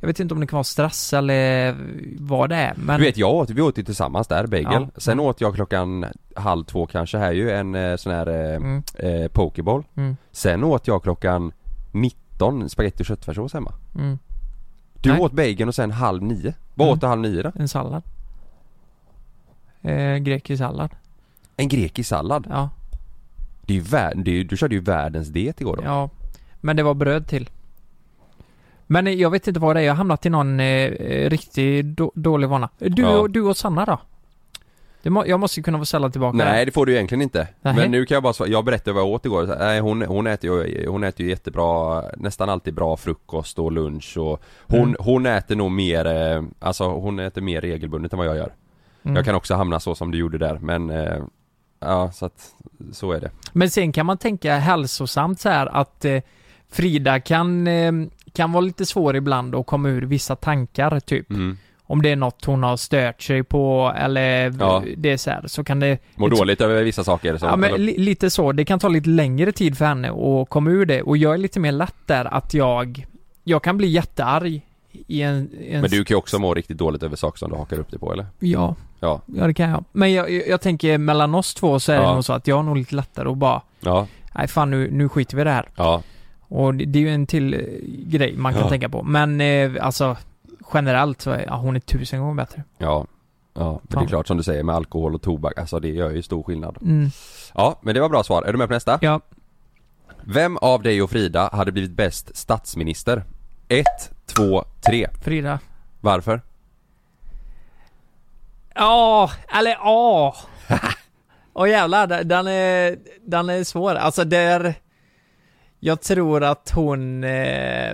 S2: Jag vet inte om det kan vara stress eller vad det är, men...
S3: Du vet jag åt, vi åt ju tillsammans där, bagel.
S2: Ja. Mm.
S3: Sen åt jag klockan halv två kanske här ju en eh, sån här eh,
S2: Mm.
S3: eh, pokeball.
S2: Mm.
S3: Sen åt jag klockan 19 spagetti och köttfärssås hemma.
S2: Mm.
S3: Du
S2: Nej.
S3: åt bageln och sen halv nio. Vad
S2: Mm.
S3: åt du halv nio då?
S2: En sallad. Eh, grekisk sallad.
S3: En grekisk sallad.
S2: Ja,
S3: Det är ju vär- det är, ju- du körde ju världens diet igår då.
S2: ja. Men det var bröd till. Men eh, jag vet inte vad det är. Jag har hamnat i någon eh, eh, riktig då, dålig vana. Du,
S3: Ja.
S2: och, du och Sanna då? Det må, jag måste ju kunna få ställa tillbaka
S3: Nej
S2: det.
S3: det får du ju egentligen inte.
S2: Nej.
S3: Men nu kan jag bara svara, jag berättade vad jag åt igår. Nej, hon, hon, äter ju, hon äter ju jättebra, nästan alltid bra frukost och lunch och Hon,
S2: Mm.
S3: hon äter nog mer, eh, alltså hon äter mer regelbundet än vad jag gör.
S2: Mm.
S3: Jag kan också hamna så som du gjorde där men eh, Ja så att, så är det.
S2: Men sen kan man tänka hälsosamt så här att eh, Frida kan, eh, kan vara lite svår ibland och komma ur vissa tankar typ.
S3: Mm.
S2: Om det är något hon har stört sig på eller
S3: Ja.
S2: det är så här så kan det...
S3: Mår dåligt över vissa saker så.
S2: Ja, men
S3: eller-
S2: li- lite så. Det kan ta lite längre tid för henne att komma ur det. Och jag är lite mer lätt där att jag... Jag kan bli jättearg i en... i en
S3: men du kan ju också må riktigt dåligt över saker som du hakar upp dig på eller?
S2: Ja,
S3: Ja,
S2: ja det kan jag. Men jag, jag jag tänker mellan oss två så är
S3: Ja.
S2: det nog så att jag har nog lite lättare att bara...
S3: ja,
S2: Nej fan nu, nu skiter vi i det här.
S3: ja,
S2: Och det, det är ju en till eh, grej man kan
S3: Ja.
S2: tänka på. Men eh, alltså generellt så är ja, hon är tusen gånger bättre.
S3: ja. Ja, men det är
S2: Fan.
S3: klart som du säger med alkohol och tobak, alltså det gör ju stor skillnad.
S2: Mm.
S3: Ja, men det var bra svar. Är du med på nästa?
S2: Ja,
S3: Vem av dig och Frida hade blivit bäst statsminister? 1, 2, 3.
S2: Frida.
S3: Varför?
S2: Alltså- Ja, eller ja. [LAUGHS] Åh jävlar, den- den är, den är svår. Alltså där... Jag tror att hon... Eh,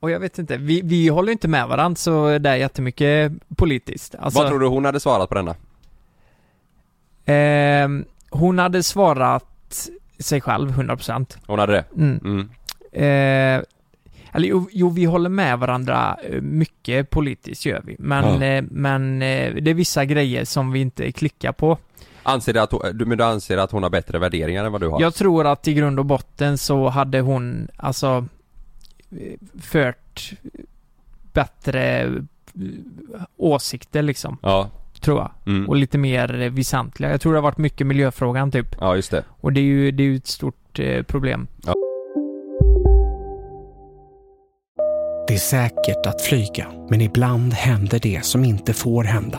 S2: och jag vet inte, vi, vi håller ju inte med varandra så det är jättemycket politiskt. Alltså,
S3: Vad tror du hon hade svarat på denna?
S2: Ehm, hon hade svarat sig själv 100%.
S3: Hon hade det?
S2: Mm.
S3: Mm.
S2: Eh, eller jo, jo, vi håller med varandra eh, mycket politiskt gör vi. Men,
S3: Ja.
S2: eh, men eh, det är vissa grejer som vi inte klickar på.
S3: Anser du att hon, du, men du anser att hon har bättre värderingar än vad du har?
S2: Jag tror att i grund och botten så hade hon alltså eh, fört bättre eh, åsikter liksom,
S3: Ja.
S2: tror jag.
S3: Mm.
S2: Och lite mer eh, väsentliga. Jag tror det har varit mycket miljöfrågan typ.
S3: Ja, just det.
S2: Och det är ju, det är ju ett stort eh, problem.
S4: Det är säkert att flyga, men ibland händer det som inte får hända.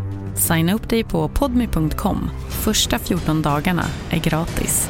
S5: Signa upp dig på podmi.com. Första 14 dagarna är gratis.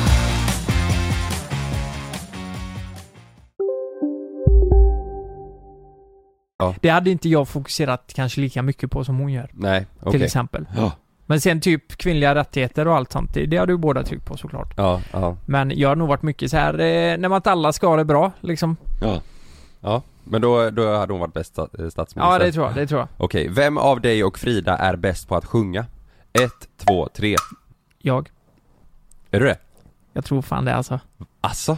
S2: Det hade inte jag fokuserat kanske lika mycket på som hon gör.
S3: Nej, okej.
S2: Till exempel.
S3: Ja.
S2: Men sen typ kvinnliga rättigheter och allt sånt, det, det har du båda tryckt på såklart.
S3: Ja, ja.
S2: Men jag har nog varit mycket så här eh, när man inte alla ska ha det bra liksom.
S3: Ja. Ja, men då, då hade hon varit bäst sta- eh, statsminister.
S2: Ja det tror jag, det tror jag.
S3: Okej, vem av dig och Frida är bäst på att sjunga? Ett, två, tre.
S2: Jag.
S3: Är du det?
S2: Jag tror fan det alltså.
S3: Asså?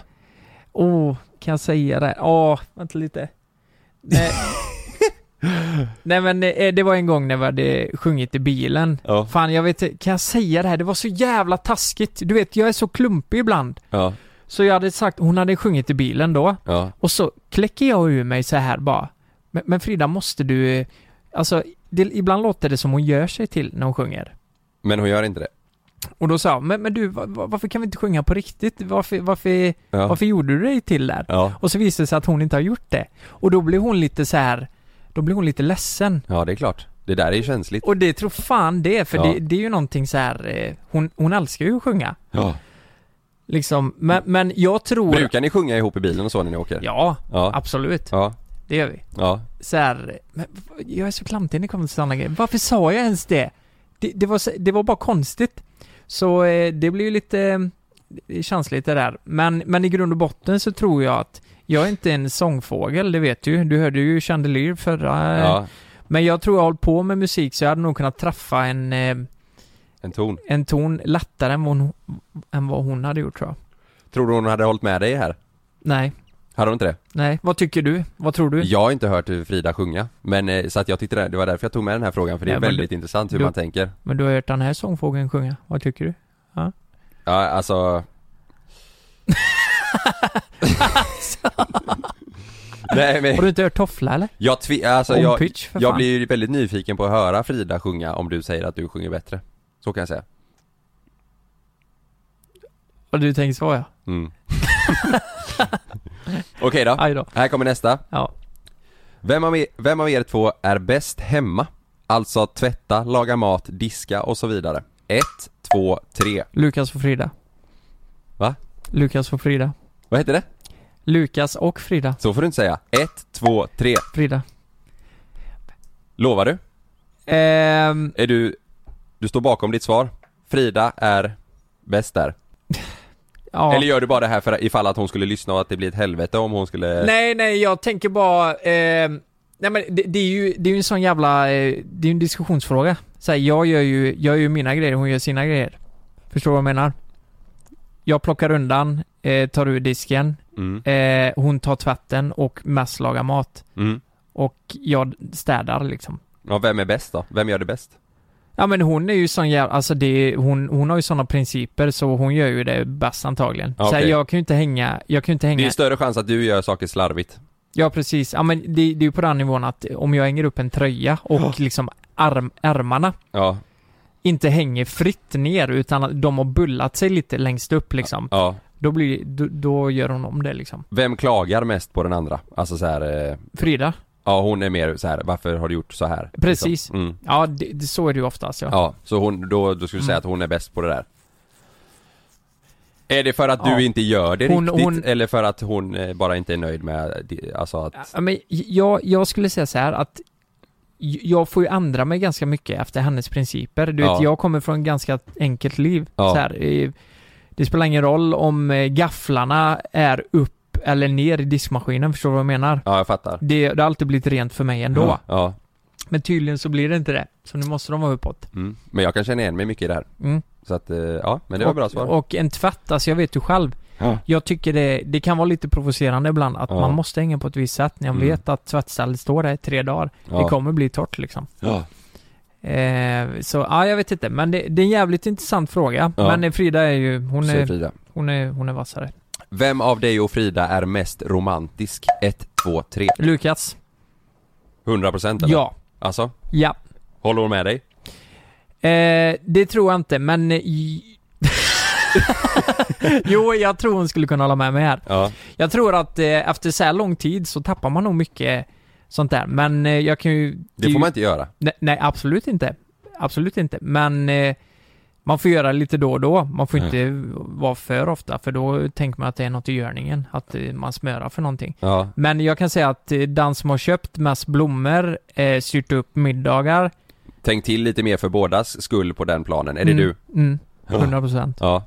S2: Åh, oh, kan jag säga det? Åh, vänta lite.
S3: [LAUGHS]
S2: Nej. Nej men eh, det var en gång när vi hade sjungit i bilen.
S3: Ja.
S2: Fan jag vet kan jag säga det här? Det var så jävla taskigt. Du vet, jag är så klumpig ibland.
S3: Ja.
S2: Så jag hade sagt, hon hade sjungit i bilen då.
S3: Ja.
S2: Och så kläcker jag ur mig så här bara. Men, men Frida, måste du... eh, Alltså, det, ibland låter det som hon gör sig till när hon sjunger.
S3: Men hon gör inte det.
S2: Och då sa jag, men, men du, va- va- varför kan vi inte sjunga på riktigt? Varför, varför,
S3: Ja.
S2: varför gjorde du dig till där?
S3: Ja.
S2: Och så visade det sig att hon inte har gjort det. Och då blev hon lite så här, då blev hon lite ledsen.
S3: Ja, det är klart. Det där är ju känsligt.
S2: Och det tror fan det, för
S3: Ja.
S2: det, det är ju någonting så här, eh, hon, hon älskar ju att sjunga.
S3: Ja.
S2: Liksom, men, men jag tror...
S3: Brukar ni sjunga ihop i bilen och så när ni åker?
S2: Ja,
S3: Ja.
S2: absolut.
S3: Ja.
S2: Det gör vi.
S3: Ja.
S2: så här, men v- jag är så klantig när det kommer till sådana grejer. Varför sa jag ens det? Det, det, var, så- det var bara konstigt. Så eh, det blir ju lite eh, känsligt det där. Men, men i grund och botten så tror jag att jag är inte en sångfågel, det vet du. Du hörde ju Chandelier förra... eh,
S3: ja.
S2: Men jag tror jag har hållit på med musik så jag hade nog kunnat träffa en, eh,
S3: En ton.
S2: en ton lättare än vad, hon, än vad hon hade gjort tror jag.
S3: Tror du hon hade hållit med dig här?
S2: Nej,
S3: Hade hon inte det?
S2: nej. Vad tycker du? Vad tror du?
S3: Jag har inte hört Frida sjunga, men eh, så att jag tyckte det, det var därför jag tog med den här frågan för det är
S2: Nej, men
S3: väldigt
S2: du-
S3: intressant hur
S2: du-
S3: man tänker.
S2: Men du har hört den här sångfågeln sjunga. Vad tycker du?
S3: Ja, [LAUGHS] alltså... Nej
S2: Har du
S3: men,
S2: inte hört Toffla eller?
S3: jag tvi, alltså
S2: On
S3: jag,
S2: pitch, för
S3: jag
S2: fan.
S3: blir ju väldigt nyfiken på att höra Frida sjunga om du säger att du sjunger bättre. Så kan jag säga.
S2: Vad du tänker så ja. [LAUGHS]
S3: Mm. Okej då.
S2: Aj då.
S3: Här kommer nästa.
S2: Ja.
S3: Vem av, er, vem av er två är bäst hemma? Alltså att tvätta, laga mat, diska och så vidare. Ett, två, tre.
S2: Lukas och Frida.
S3: Va?
S2: Lukas och Frida.
S3: Vad heter det?
S2: Lukas och Frida.
S3: Så får du inte säga. Ett, två, tre.
S2: Frida.
S3: Lovar du?
S2: Ehm,
S3: Är du... Du står bakom ditt svar. Frida är bäst där.
S2: Ja.
S3: Eller gör du bara det här för ifall att hon skulle lyssna och att det blir ett helvete om hon skulle...
S2: Nej, nej, jag tänker bara... Eh, nej men det, det är ju det är ju en sån jävla... Eh, det är ju en diskussionsfråga. Så här, jag gör ju, jag gör ju mina grejer, hon gör sina grejer. Förstår du vad jag menar? Jag plockar undan, eh, tar ur disken,
S3: Mm.
S2: eh, hon tar tvätten och mest lagar mat.
S3: Mm.
S2: Och jag städar liksom.
S3: Ja, vem är bäst då? Vem gör det bäst?
S2: Ja men hon är ju sån jävla, alltså det, är- hon, hon har ju såna principer så hon gör ju det bäst antagligen.
S3: Ja,
S2: Så här,
S3: okej.
S2: jag kan ju inte hänga, jag kan ju inte hänga
S3: Det är större chans att du gör saker slarvigt.
S2: Ja precis, ja men det, det är ju på den nivån att om jag hänger upp en tröja och liksom arm, ärmarna
S3: Ja.
S2: inte hänger fritt ner utan att de har bullat sig lite längst upp liksom.
S3: Ja.
S2: Då blir då, då gör hon om det liksom.
S3: Vem klagar mest på den andra? Alltså så här. Eh...
S2: Frida?
S3: Ja, hon är mer så här. varför har du gjort så här?
S2: Precis.
S3: Liksom. Mm.
S2: Ja, det, det, så är det ju oftast ja.
S3: Ja, så hon, då, då skulle
S2: Mm.
S3: du säga att hon är bäst på det där. Är det för att
S2: Ja.
S3: du inte gör det
S2: Hon-
S3: riktigt,
S2: hon-
S3: eller för att hon eh, bara inte är nöjd med, det- alltså att...
S2: Ja, men jag, jag skulle säga så här att j- jag får ju ändra mig ganska mycket efter hennes principer. Du
S3: Ja.
S2: vet, jag kommer från ganska enkelt liv.
S3: Ja.
S2: Så här, eh, det spelar ingen roll om eh, gafflarna är upp eller ner i diskmaskinen, förstår du vad jag menar?
S3: Ja, jag fattar. Mm.
S2: Det, det har alltid blivit rent för mig ändå.
S3: Ja.
S2: Men tydligen så blir det inte det, så nu måste de vara uppåt.
S3: Mm. Men jag kan känna igen mig mycket i det här.
S2: Mm.
S3: Så att, eh, ja, men det var
S2: och,
S3: bra svar.
S2: Och en tvätt, alltså jag vet ju själv.
S3: Ja.
S2: Jag tycker det, det kan vara lite provocerande ibland att
S3: Ja.
S2: man måste hänga på ett visst sätt när jag
S3: Mm.
S2: vet att tvättstället står där i tre dagar.
S3: Ja.
S2: Det kommer bli torrt liksom.
S3: Ja.
S2: Eh, så, ja jag vet inte. Men det, det är en jävligt intressant fråga.
S3: Ja.
S2: Men eh, Frida är ju, hon
S3: Säger
S2: är,
S3: Frida.
S2: hon är, hon är vassare.
S3: Vem av dig och Frida är mest romantisk? 1, 2, 3.
S2: Lukas.
S3: 100% eller?
S2: Ja.
S3: Alltså?
S2: Ja.
S3: Håller hon med dig?
S2: Eh, det tror jag inte, men... eh, i- [LAUGHS] jo, jag tror hon skulle kunna hålla med mig här.
S3: Ja.
S2: Jag tror att eh, efter så här lång tid så tappar man nog mycket sånt där, men eh, jag kan ju...
S3: Det
S2: är
S3: får
S2: ju-
S3: man inte göra.
S2: Nej, nej, absolut inte. Absolut inte. Men eh, man får göra lite då och då. Man får
S3: Ja.
S2: inte vara för ofta, för då tänker man att det är något i görningen. Att eh, man smörar för någonting.
S3: Ja.
S2: Men jag kan säga att eh, den som har köpt mest blommor, eh, styrt upp middagar.
S3: Tänk till lite mer för bådas skull på den planen. Är det
S2: Mm,
S3: du?
S2: Mm, 100 procent.
S3: Ja.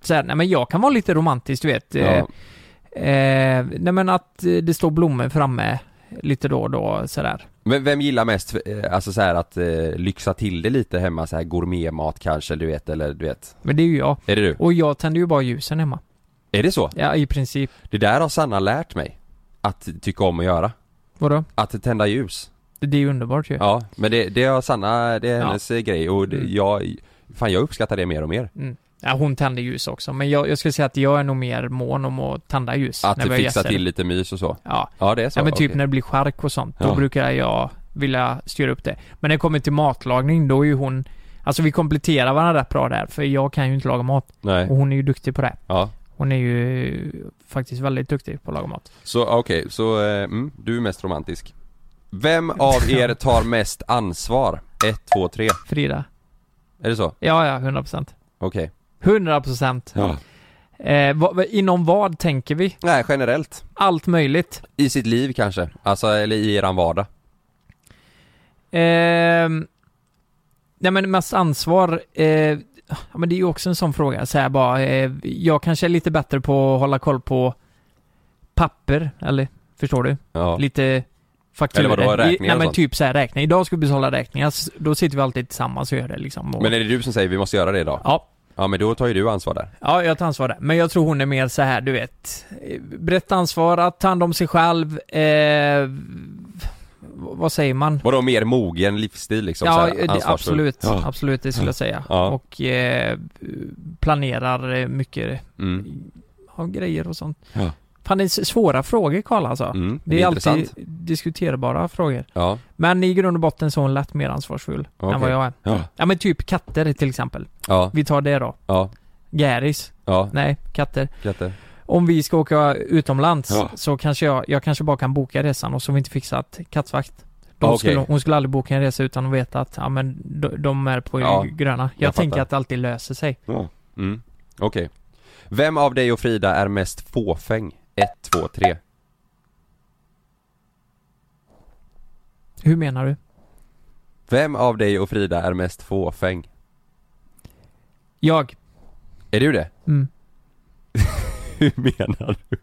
S2: Så här, nej men jag kan vara lite romantisk, du vet. Eh, eh, nej men att eh, det står blommor framme lite då och då sådär.
S3: Men vem gillar mest, eh, alltså så här att eh, lyxa till det lite hemma så här gourmetmat kanske du vet eller du vet?
S2: Men det är ju jag.
S3: Är det du?
S2: Och jag tänder ju bara ljusen hemma.
S3: Är det så?
S2: Ja, i princip.
S3: Det där har Sanna lärt mig. Att tycka om att göra.
S2: Vadå?
S3: Att tända ljus.
S2: Det, det är ju underbart ju.
S3: Ja, men det, det har Sanna, det är
S2: Ja.
S3: hennes eh, grej och det, jag, fan jag uppskattar det mer och mer.
S2: Mm. Ja, hon tänder ljus också, men jag, jag skulle säga att jag är nog mer mån om att tända ljus.
S3: Att
S2: när vi har
S3: fixa
S2: gäster.
S3: till lite mys och så.
S2: Ja.
S3: Ja, det är så.
S2: ja, men typ
S3: Okej.
S2: när det blir skärk och sånt, då
S3: Ja.
S2: brukar jag vilja styra upp det. Men när det kommer till matlagning, då är ju hon... Alltså vi kompletterar varandra rätt bra där, för jag kan ju inte laga mat.
S3: Nej.
S2: Och hon är ju duktig på det.
S3: Ja.
S2: Hon är ju faktiskt väldigt duktig på att laga mat.
S3: Så okej, så eh, mm, du är mest romantisk. Vem
S2: [LAUGHS]
S3: av er tar mest ansvar? 1, 2, 3.
S2: Frida.
S3: Är det så?
S2: Ja, ja, 100 procent.
S3: Okej.
S2: 100 procent.
S3: Ja.
S2: Eh, vad, inom vad tänker vi?
S3: Nej, generellt.
S2: Allt möjligt.
S3: I sitt liv kanske, alltså eller i eran vardag.
S2: Ehm, nej men mest ansvar, eh, ja, men det är ju också en sån fråga. Så här bara, eh, jag kanske är lite bättre på att hålla koll på papper, eller förstår du?
S3: Ja.
S2: Lite fakturor.
S3: Eller vadå,
S2: I-
S3: räkningar
S2: Nej
S3: och
S2: men
S3: sånt?
S2: typ så här räkningar. Idag ska vi betala räkningar, s- då sitter vi alltid tillsammans och gör det liksom. Och,
S3: Men är det du som säger vi måste göra det idag?
S2: Ja.
S3: Ja men då tar ju du ansvar där.
S2: Ja, jag tar ansvar där. Men jag tror hon är mer så här, du vet. eh, Brett ansvar, att ta hand om sig själv. Eh, v- vad säger man?
S3: Vadå mer mogen livsstil liksom? så här,
S2: ja, det,
S3: ansvarsfull?
S2: absolut.
S3: Ja.
S2: Absolut, det skulle jag säga.
S3: Ja.
S2: Och eh, planerar eh, mycket
S3: Mm.
S2: av grejer och sånt.
S3: Ja.
S2: Fan, det är s- svåra frågor Karl alltså.
S3: Mm,
S2: det,
S3: det
S2: är
S3: är
S2: alltid
S3: intressant.
S2: diskuterbara frågor.
S3: Ja.
S2: Men i grund och botten så är hon lätt mer ansvarsfull
S3: Okej.
S2: än vad jag är.
S3: Ja.
S2: men typ katter till exempel.
S3: Ja.
S2: Vi tar det då.
S3: Ja.
S2: Gäris.
S3: Ja.
S2: Nej, katter.
S3: Katter.
S2: Om vi ska åka utomlands
S3: Ja.
S2: så kanske jag, jag kanske bara kan boka resan och så har vi inte fixat kattvakt. De
S3: Ah, Okej.
S2: skulle, hon skulle aldrig boka en resa utan att veta att ja, men de, de är på
S3: Ja,
S2: gröna. Jag,
S3: jag
S2: tänker
S3: fattar.
S2: att det alltid löser sig.
S3: Ja. Mm. Okej. Vem av dig och Frida är mest fåfäng? 1, 2, 3.
S2: Hur menar du?
S3: Vem av dig och Frida är mest fåfäng?
S2: Jag. [LAUGHS]
S3: Är du det?
S2: Mm.
S3: Hur menar du?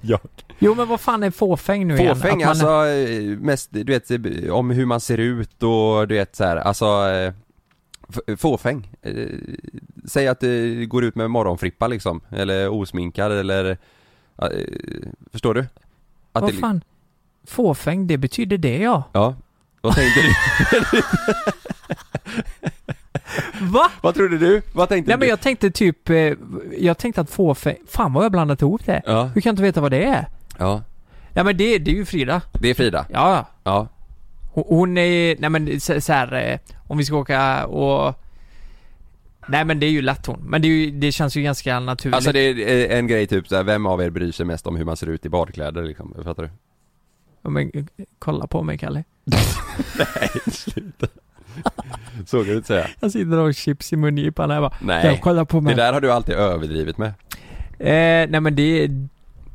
S3: Jag
S2: Jo men vad fan är fåfäng nu igen?
S3: Fåfäng,
S2: Att man-
S3: alltså eh, mest, du vet, eh, om hur man ser ut och du vet så här, alltså eh, f- Fåfäng. Eh, Säg att du går ut med morgonfrippa liksom, eller osminkad eller eh, Förstår du? Att
S2: Vad
S3: det-
S2: fan? Fåfäng, det betyder det ja.
S3: Ja,
S2: [LAUGHS]
S3: vad tänkte du?
S2: Va?
S3: Vad trodde du? Vad tänkte
S2: Nej
S3: du?
S2: men jag tänkte typ, eh, jag tänkte att fåfäng, fan vad jag blandat ihop det.
S3: Ja.
S2: Hur kan jag inte veta vad det är?
S3: Ja,
S2: Ja men det, det är ju Frida.
S3: det är Frida.
S2: Ja.
S3: Ja.
S2: Hon, hon är, nej men så, så här, eh, om vi ska åka och... Nej men det är ju lätt hon. Men det, är ju, det känns ju ganska naturligt.
S3: Alltså det är eh, en grej typ så här, vem av er bryr sig mest om hur man ser ut i badkläder liksom? Fattar du?
S2: Ja, men eh, kolla på mig Kalle.
S3: Nej, sluta. Så kan du inte säga.
S2: Jag sitter och har chips i mungipan här bara.
S3: Nej.
S2: Jag kollar på mig.
S3: Det där har du alltid överdrivit med.
S2: Eh, nej men det...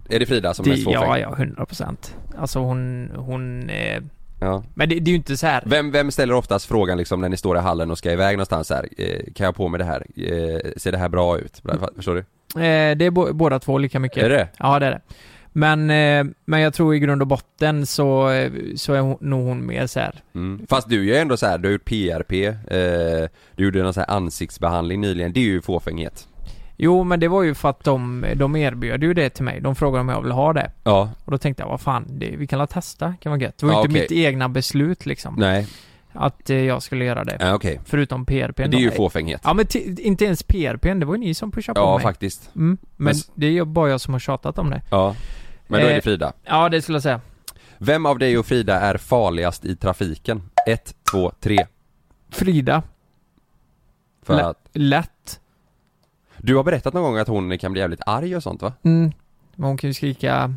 S3: Är det Frida som
S2: det,
S3: mest fåfäng?
S2: Ja, ja, 100 procent. Alltså hon, hon... Eh,
S3: Ja.
S2: Men det, det är ju inte så här.
S3: Vem, vem ställer oftast frågan liksom när ni står i hallen och ska iväg någonstans så här, eh, kan jag på mig det här? Eh, ser det här bra ut? Bra, Förstår du?
S2: Eh, det är bo- båda två lika mycket.
S3: Är det?
S2: Ja, det är det. Men, eh, men jag tror i grund och botten så, eh, så är hon, nog hon mer så här.
S3: Mm. Fast du gör ändå så här, du har gjort PRP, eh, du gjorde någon så här ansiktsbehandling nyligen, det är ju fåfänghet.
S2: Jo, men det var ju för att de, de erbjöd ju det till mig. De frågade om jag ville ha det.
S3: Ja,
S2: Och då tänkte jag, vad fan, det, vi kan la testa, kan vara gött. Det var ju
S3: Ja,
S2: inte
S3: okej.
S2: mitt egna beslut liksom.
S3: nej,
S2: Att eh, jag skulle göra det.
S3: ja, okej.
S2: Förutom PRP.
S3: Det är ju fåfänghet.
S2: Ja, men ti- inte ens PRP, det var ju ni som pushade på
S3: Ja,
S2: mig.
S3: faktiskt.
S2: Mm, men
S3: Men s-
S2: det är ju bara jag som har tjatat om det.
S3: Ja, men då är det
S2: Eh,
S3: Frida.
S2: Ja, det skulle jag säga.
S3: Vem av dig och Frida är farligast i trafiken? 1, 2, 3.
S2: Frida.
S3: För
S2: Lä-
S3: att
S2: Lätt.
S3: du har berättat någon gång att hon kan bli jävligt arg och sånt va?
S2: Mm. Men hon kan ju skrika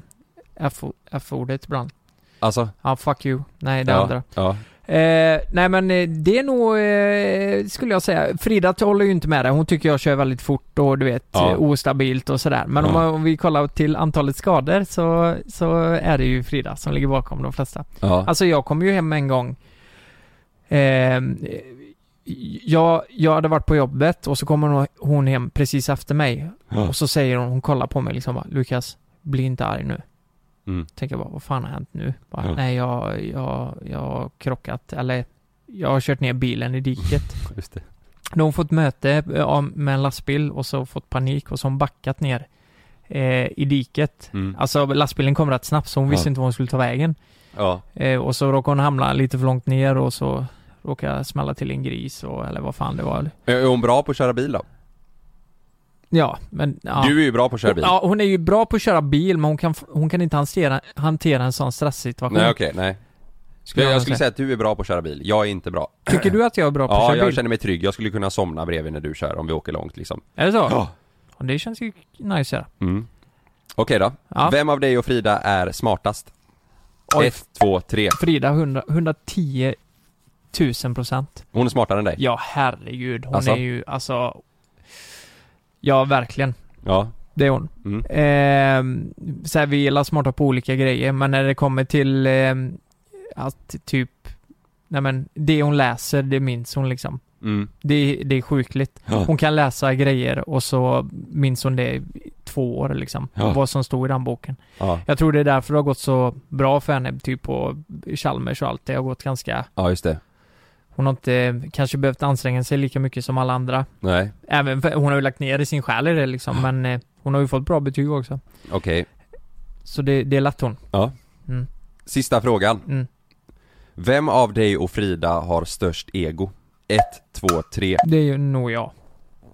S2: F- F-ordet ibland.
S3: Alltså?
S2: Ja, fuck you. Nej, det
S3: ja,
S2: andra.
S3: Ja.
S2: Eh, nej men eh, det är nog, eh, skulle jag säga, Frida håller ju inte med dig. Hon tycker jag kör väldigt fort och du vet,
S3: Ja.
S2: eh, ostabilt och sådär. Men om,
S3: Ja.
S2: man- om vi kollar till antalet skador så, så är det ju Frida som ligger bakom de flesta.
S3: Ja.
S2: Alltså jag kom ju hem en gång eh, jag, jag hade varit på jobbet och så kommer hon- hon hem precis efter mig.
S3: Ja.
S2: Och så säger hon, hon kollar på mig liksom bara, Lukas, bli inte arg nu.
S3: Mm.
S2: Tänker jag bara, vad fan har hänt nu? Bara,
S3: Ja.
S2: Nej, jag, jag, jag har krockat, eller jag har kört ner bilen i diket.
S3: Just det.
S2: Då har hon fått möte ja, med en lastbil och så fått panik och så har hon backat ner eh, i diket.
S3: Mm.
S2: Alltså lastbilen kom rätt snabbt så hon visste
S3: Ja.
S2: inte var hon skulle ta vägen.
S3: Ja.
S2: Eh, och så råkade hon hamna lite för långt ner och så råkade jag smälla till en gris och, eller vad fan det var.
S3: Är hon bra på att köra bil då?
S2: Ja, men ja.
S3: Du är ju bra på att köra bil.
S2: Ja, hon är ju bra på att köra bil men hon kan, f- hon kan inte hantera, hantera en sån stresssituation.
S3: Nej okej, nej.
S2: Skulle
S3: jag,
S2: jag
S3: jag skulle
S2: säga.
S3: säga att du är bra på att köra bil, jag är inte bra.
S2: Tycker du att jag är bra på att
S3: Ja,
S2: köra
S3: jag
S2: bil?
S3: känner mig trygg. Jag skulle kunna somna bredvid när du kör om vi åker långt liksom.
S2: Är det så?
S3: Ja.
S2: Och det känns ju nice att göra.
S3: Mm. Okej då.
S2: Ja.
S3: Vem av dig och Frida är smartast?
S2: Oj.
S3: Ett, två, tre.
S2: Frida, 100, 110 000 procent.
S3: Hon är smartare än dig?
S2: Ja, herregud. Hon
S3: Alltså?
S2: är ju, alltså... Ja, verkligen.
S3: Ja.
S2: Det är hon.
S3: Mm.
S2: Ehm, så här, vi gillar smarta på olika grejer, men när det kommer till ehm, att typ... Nej men, det hon läser, det minns hon liksom.
S3: Mm.
S2: Det, det är sjukligt.
S3: Ja.
S2: Hon kan läsa grejer och så minns hon det i två år liksom.
S3: Ja.
S2: Vad som stod i den boken.
S3: Ja.
S2: Jag tror det är därför det har gått så bra för henne, typ på Chalmers och allt. Det har gått ganska...
S3: ja, just det.
S2: Hon har inte kanske behövt anstränga sig lika mycket som alla andra.
S3: Nej,
S2: Även för, hon har ju lagt ner i sin själ i det liksom, men eh, hon har ju fått bra betyg också.
S3: okej.
S2: Så det, det är lätt hon.
S3: Ja.
S2: Mm.
S3: Sista frågan.
S2: Mm.
S3: Vem av dig och Frida har störst ego? Ett, två, tre.
S2: Det är ju nog jag.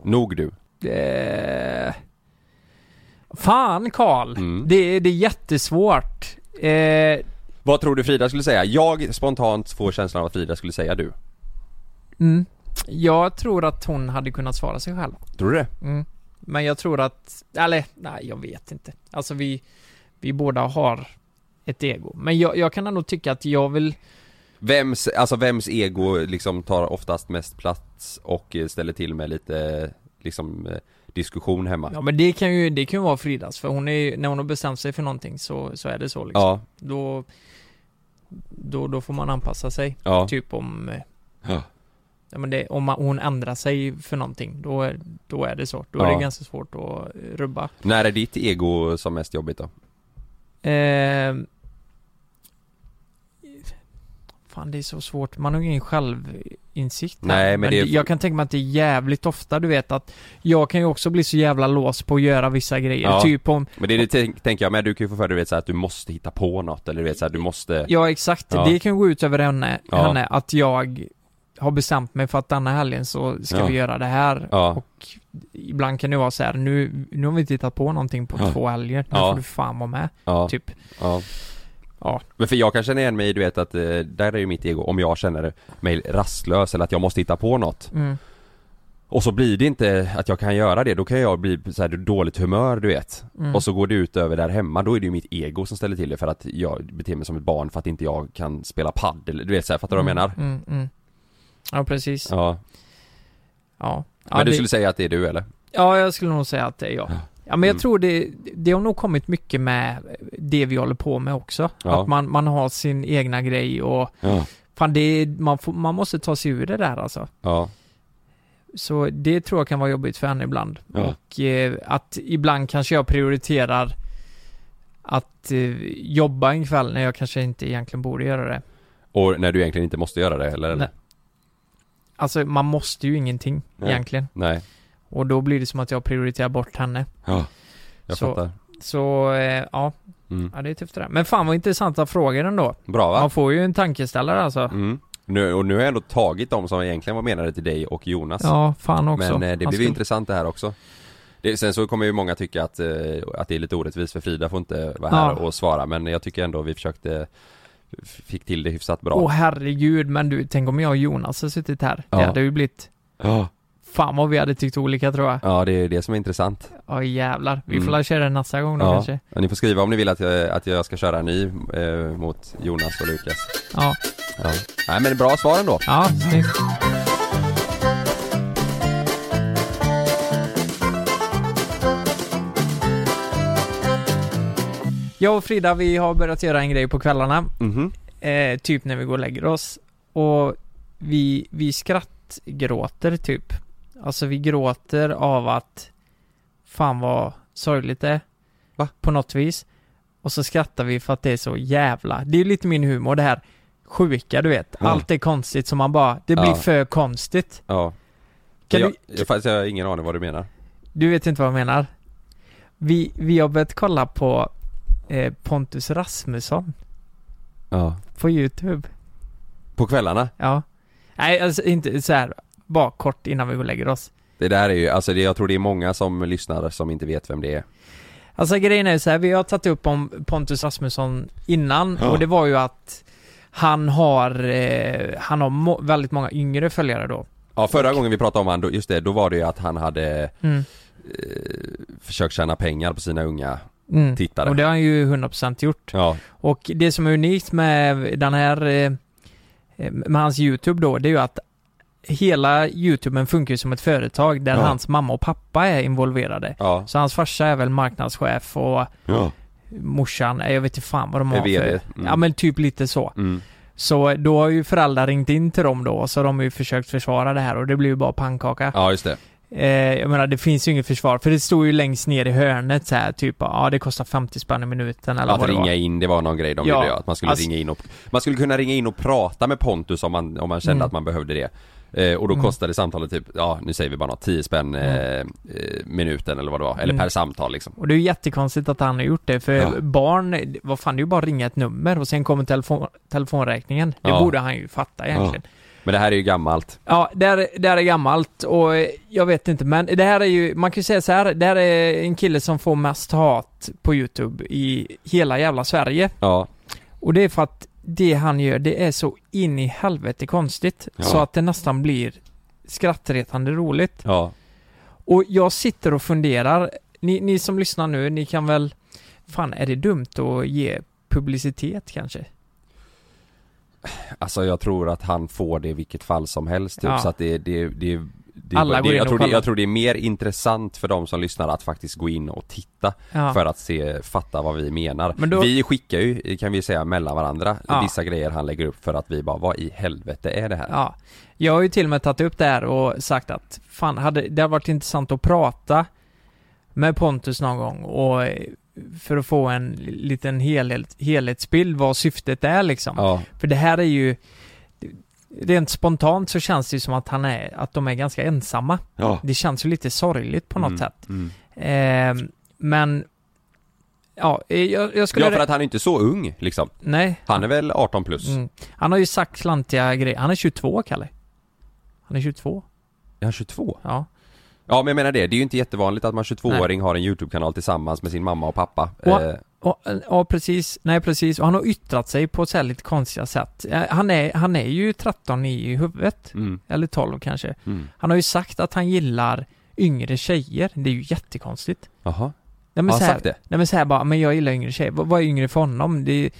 S3: Nog du.
S2: Eh... Fan Karl!
S3: Mm.
S2: Det, det är jättesvårt. Eh,
S3: Vad tror du Frida skulle säga? Jag spontant får känslan av att Frida skulle säga du.
S2: mm. Jag tror att hon hade kunnat svara sig själv.
S3: Tror du det?
S2: Mm. Men jag tror att, eller nej jag vet inte. Alltså vi, vi båda har ett ego. Men jag, jag kan ändå tycka att jag vill,
S3: Vems, alltså vems ego liksom tar oftast mest plats och eh, ställer till med lite eh, liksom eh, diskussion hemma?
S2: ja men det kan ju, det kan ju vara Fridas för hon är ju- när hon har bestämt sig för någonting så, så är det så liksom.
S3: Ja,
S2: Då, då, då får man anpassa sig.
S3: Ja.
S2: Typ om, eh,
S3: Ja.
S2: ja, men det, om man, hon ändrar sig för någonting, då, är- då är det så. Då är
S3: Ja.
S2: det ganska svårt att eh, rubba.
S3: När är ditt ego som mest jobbigt då?
S2: Ehm. fan, det är så svårt. Man har ju ingen självinsikt.
S3: Nej, men det är-
S2: Jag kan tänka mig att det är jävligt ofta, du vet att jag kan ju också bli så jävla lås på att göra vissa grejer.
S3: Ja.
S2: Typ om
S3: Men det, är det tänk, tänker jag med, du kan ju få för dig du vet, så här, att du måste hitta på något eller du vet så här, du måste
S2: Ja exakt,
S3: Ja.
S2: det kan ju gå ut över henne,
S3: Ja.
S2: henne att jag har bestämt mig för att denna helgen så ska
S3: Ja.
S2: vi göra det här
S3: Ja.
S2: och ibland kan det vara så här, nu, nu har vi tittat på någonting på
S3: Ja.
S2: två helger, nu
S3: Ja.
S2: får du fan vara med.
S3: Ja.
S2: Typ.
S3: Ja. Men för jag kan känna igen mig du vet att eh, där är ju mitt ego om jag känner mig rastlös eller att jag måste hitta på något.
S2: Mm.
S3: Och så blir det inte att jag kan göra det, då kan jag bli så här dåligt humör du vet.
S2: Mm.
S3: Och så går det ut över där hemma, då är det ju mitt ego som ställer till det för att jag beter mig som ett barn för att inte jag kan spela padel, du vet så här, fattar du vad jag menar?
S2: Mm, mm. Ja precis. Ja.
S3: Ja.
S2: Ja.
S3: Men du
S2: det-
S3: skulle säga att det är du eller?
S2: jag skulle nog säga att det är jag. Ja men jag
S3: Mm.
S2: tror det, det har nog kommit mycket med det vi håller på med också.
S3: Ja.
S2: Att man, man har sin egna grej och
S3: Ja.
S2: fan det, är- man, får, man måste ta sig ur det där alltså.
S3: Ja.
S2: Så det tror jag kan vara jobbigt för henne ibland.
S3: Ja.
S2: Och eh, att ibland kanske jag prioriterar att eh, jobba en kväll när jag kanske inte egentligen borde göra det.
S3: Och när du egentligen inte måste göra det eller? eller?
S2: Nej. Alltså man måste ju ingenting
S3: Nej.
S2: egentligen.
S3: Nej.
S2: Och då blir det som att jag prioriterar bort henne.
S3: Ja. Jag
S2: så,
S3: fattar.
S2: Så eh, ja.
S3: Mm.
S2: ja, det är tufft det där. Men fan vad intressanta frågor ändå.
S3: Bra va?
S2: Man får ju en tankeställare alltså.
S3: Mm. Nu, och nu har jag ändå tagit de som egentligen var menade till dig och Jonas
S2: Ja, fan också.
S3: alltså. Men eh, det
S2: Han
S3: blev ju
S2: skulle-
S3: intressant det här också det, Sen så kommer ju många tycka att, eh, att det är lite orättvist för Frida får inte vara här
S2: Ja.
S3: och svara Men jag tycker ändå vi försökte f- Fick till det hyfsat bra
S2: Åh herregud, men du, tänk om jag och Jonas hade suttit här. Det
S3: Ja.
S2: hade ju blivit...
S3: Ja.
S2: Fan vad vi hade tyckt olika tror jag.
S3: Ja det är det som är intressant
S2: Ja jävlar, vi får
S3: Mm.
S2: mm. köra den nästa gång då kanske.
S3: Ja, ni får skriva om ni vill att jag, att jag ska köra en ny eh, mot Jonas och Lukas
S2: Ja.
S3: ja. Nej men bra svar ändå
S2: Ja, snyggt. Jag och Frida, vi har börjat göra en grej på kvällarna. Eh, typ när vi går och lägger oss. Och vi, vi skrattgråter typ. Alltså vi gråter av att fan vad sorgligt det är. På något vis. Och så skrattar vi för att det är så jävla, det är ju lite min humor det här sjuka du vet.
S3: Ja.
S2: Allt är konstigt som man bara, det blir
S3: Ja.
S2: för konstigt.
S3: Ja
S2: Kan
S3: jag,
S2: du-
S3: jag, fast jag har ingen aning vad du menar
S2: Du vet inte vad jag menar. Vi, vi har börjat kolla på eh, Pontus Rasmusson
S3: Ja
S2: på YouTube.
S3: På kvällarna?
S2: Ja. Nej, alltså inte så här bara kort innan vi går och lägger oss.
S3: Det där är ju, alltså det, jag tror det är många som lyssnar som inte vet vem det är
S2: Alltså grejen är ju så här, vi har tagit upp om Pontus Rasmusson innan
S3: Ja.
S2: och det var ju att han har, eh, han har må- väldigt många yngre följare då.
S3: Ja förra gången vi pratade om han, då, just det, då var det ju att han hade
S2: Mm.
S3: eh, försökt tjäna pengar på sina unga
S2: Mm.
S3: tittare
S2: Och det har han ju 100% gjort.
S3: Ja,
S2: Och det som är unikt med den här, eh, med hans YouTube då, det är ju att hela YouTuben funkar ju som ett företag där
S3: Ja.
S2: hans mamma och pappa är involverade.
S3: Ja.
S2: Så hans farsa är väl marknadschef och
S3: Ja.
S2: morsan, eh, jag vet inte fan vad de
S3: Är
S2: har för...
S3: VD. Mm.
S2: Ja men typ lite så.
S3: Mm.
S2: Så eh, då har ju föräldrar ringt in till dem då, så de har ju försökt försvara det här och det blir ju bara pannkaka.
S3: ja just det
S2: Eh, jag menar det finns ju inget försvar, för det stod ju längst ner i hörnet så här typ, ja ah, det kostar 50 spänn i minuten eller
S3: Att
S2: vad det var.
S3: ringa in, det var någon grej de
S2: Ja,
S3: gjorde ja, att man skulle
S2: alltså-
S3: ringa in och Man skulle kunna ringa in och prata med Pontus om man, om man kände
S2: Mm.
S3: att man behövde det eh, Och då
S2: Mm.
S3: kostade samtalet typ, ja nu säger vi bara något, 10 spänn eh, eh, minuten eller vad det var, eller
S2: Mm.
S3: per samtal liksom
S2: Och det är ju jättekonstigt att han har gjort det, för
S3: Ja.
S2: barn, vad fan det är ju bara att ringa ett nummer och sen kommer telefon, telefonräkningen. Det
S3: Ja.
S2: borde han ju fatta egentligen.
S3: Ja. Men det här är ju gammalt
S2: Ja, det här, det här är gammalt och eh, jag vet inte men det här är ju, man kan ju säga så här, det här är en kille som får mest hat på Youtube i hela jävla Sverige.
S3: Ja
S2: Och det är för att det han gör, det är så in i helvete konstigt
S3: Ja.
S2: så att det nästan blir skrattretande roligt.
S3: Ja
S2: Och jag sitter och funderar, ni, ni som lyssnar nu, ni kan väl, fan är det dumt att ge publicitet kanske?
S3: Alltså jag tror att han får det i vilket fall som helst typ,
S2: Ja.
S3: så att det, det, det det är
S2: Alla
S3: bara-
S2: går
S3: det,
S2: in
S3: jag,
S2: och
S3: tror det,
S2: kollar.
S3: jag tror det är mer intressant för de som lyssnar att faktiskt gå in och titta
S2: Ja.
S3: för att se, fatta vad vi menar.
S2: Men då-
S3: Vi skickar ju, kan vi säga, mellan varandra
S2: Ja.
S3: vissa grejer han lägger upp för att vi bara, vad i helvete är det här?
S2: Ja. Jag har ju till och med tagit upp det här och sagt att fan, hade, det hade varit intressant att prata med Pontus någon gång och eh, för att få en liten helhet, helhetsbild vad syftet är liksom. För det här är ju Rent spontant så känns det ju som att han är, att de är ganska ensamma.
S3: Ja.
S2: Det känns ju lite sorgligt på något
S3: Mm,
S2: sätt.
S3: mm.
S2: Ehm, men, ja, eh, jag, jag skulle...
S3: ja, för att han är inte så ung liksom.
S2: Nej.
S3: Han är väl 18 plus?
S2: Mm. Han har ju sagt klantiga grejer. Han är 22, Kalle. Han är 22.
S3: Är han 22?
S2: Ja.
S3: Ja men jag menar det, det är ju inte jättevanligt att man 22-åring har en YouTube-kanal tillsammans med sin mamma och pappa.
S2: Och,
S3: Eh,
S2: och, ja, precis. Nej, precis. Och han har yttrat sig på så här lite konstiga sätt. Eh, Han är, han är ju 13 i huvudet.
S3: Mm.
S2: Eller 12 kanske.
S3: Mm.
S2: Han har ju sagt att han gillar yngre tjejer. Det är ju jättekonstigt.
S3: Jaha.
S2: Nej, men
S3: Har han
S2: så här,
S3: sagt det?
S2: Nej men så här bara, men jag gillar yngre tjejer. Vad, vad är yngre för honom? Det är,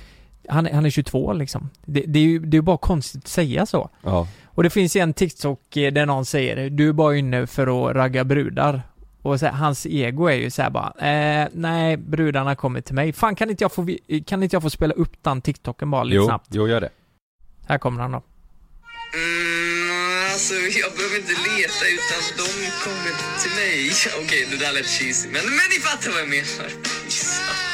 S2: han, är- han är 22 liksom. Det, det är ju det är ju bara konstigt att säga så.
S3: Ja.
S2: Och det finns en TikTok eh, där någon säger du är bara inne för att ragga brudar. Och så här, hans ego är ju så här bara, eh, nej brudarna kommer till mig. Fan kan inte jag få, vi- kan inte jag få spela upp den TikToken bara lite
S3: jo,
S2: snabbt?
S3: jo gör det.
S2: Här kommer han då.
S6: Alltså jag behöver inte leta utan de kommer till mig. Okej, det där lät cheesy, men, men ni fattar vad jag menar.